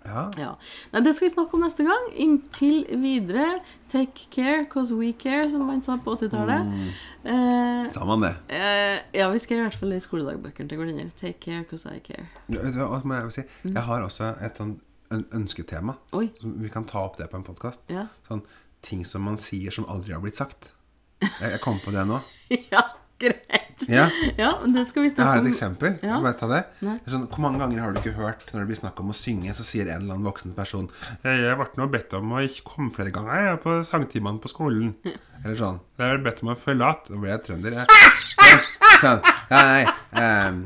S1: Ja.
S2: Ja. Nei, det skal vi snakke om neste gang. Inntil videre, take care, cause we care, som man sa på 80-tallet.
S1: Mm.
S2: Eh,
S1: Sa man det?
S2: Eh, ja, vi skrev i hvert fall i skoledagbøkene til hverandre. Take care, cause I care. <laughs>
S1: Ja, Vet du hva, må jeg, si? jeg har også et sånn øn- ønsketema.
S2: Mm. Oi.
S1: Som Vi kan ta opp det på en podkast.
S2: Ja.
S1: Sånn ting som man sier som aldri har blitt sagt. Jeg, jeg kom på det nå.
S2: ja, greit.
S1: Ja.
S2: men det skal vi
S1: Jeg
S2: snakke
S1: har
S2: om.
S1: et eksempel.
S2: Ja.
S1: Kan jeg bare ta det?
S2: Nei.
S1: Det er sånn, hvor mange ganger har du ikke hørt når det blir snakk om å synge, så sier en eller annen voksen person
S3: Jeg jeg ble nå bedt om å ikke komme flere ganger jeg, på sangtimene på skolen.
S1: Eller sånn
S3: Jeg ble bedt om å følge att.
S1: Nå ble jeg trønder, jeg. <laughs> Sånn. Ja, nei. ehm,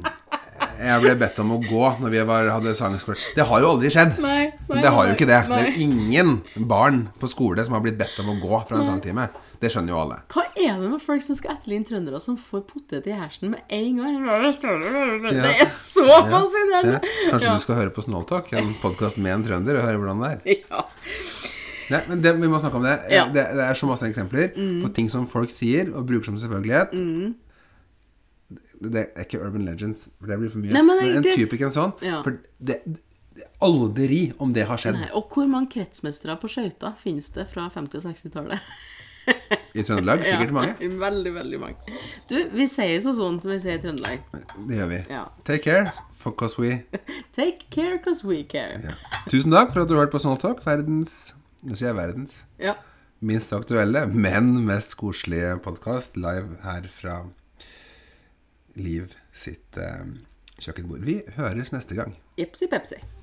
S1: jeg ble bedt om å gå når vi var, hadde sangskole. Det har jo aldri skjedd.
S2: Nei, nei,
S1: det har jo
S2: nei,
S1: ikke det. Det er
S2: nei.
S1: jo ingen barn på skole som har blitt bedt om å gå fra en sangtime. Det skjønner jo alle.
S2: Hva er det med folk som skal etterligne trøndere, som får potet i hersen med en gang? Det er så
S1: Ja.
S2: fascinerende!
S1: Kanskje du skal høre på Snåltalk, en podkast med en trønder, og høre hvordan det er.
S2: Ja.
S1: Nei, men det, Vi må snakke om det.
S2: Ja. Mm.
S1: det. Det er så masse eksempler på ting som folk sier og bruker som selvfølgelighet. Det er ikke urban legends, for det blir for mye.
S2: Nei, men
S1: men en
S2: det-
S1: typiker en sånn.
S2: Ja.
S1: For det, det Aldri om det har skjedd
S2: Nei, og hvor mange kretsmestere på skøyter finnes det fra 50- og 60-tallet?
S1: i Trøndelag. Sikkert
S2: <laughs> Ja,
S1: mange.
S2: Veldig, veldig mange. Du, vi sier så sånn som vi sier i Trøndelag.
S1: Det gjør vi.
S2: Ja.
S1: Take care, for cause we
S2: Take care cause we care.
S1: ja. Tusen takk for at du hørte på Snåltalk. Verdens Nå sier jeg verdens
S2: Ja.
S1: minst aktuelle, men mest koselige podkast live her fra Liv sitt eh, kjøkkenbord. Vi høres neste gang.
S2: Jepsi pepsi.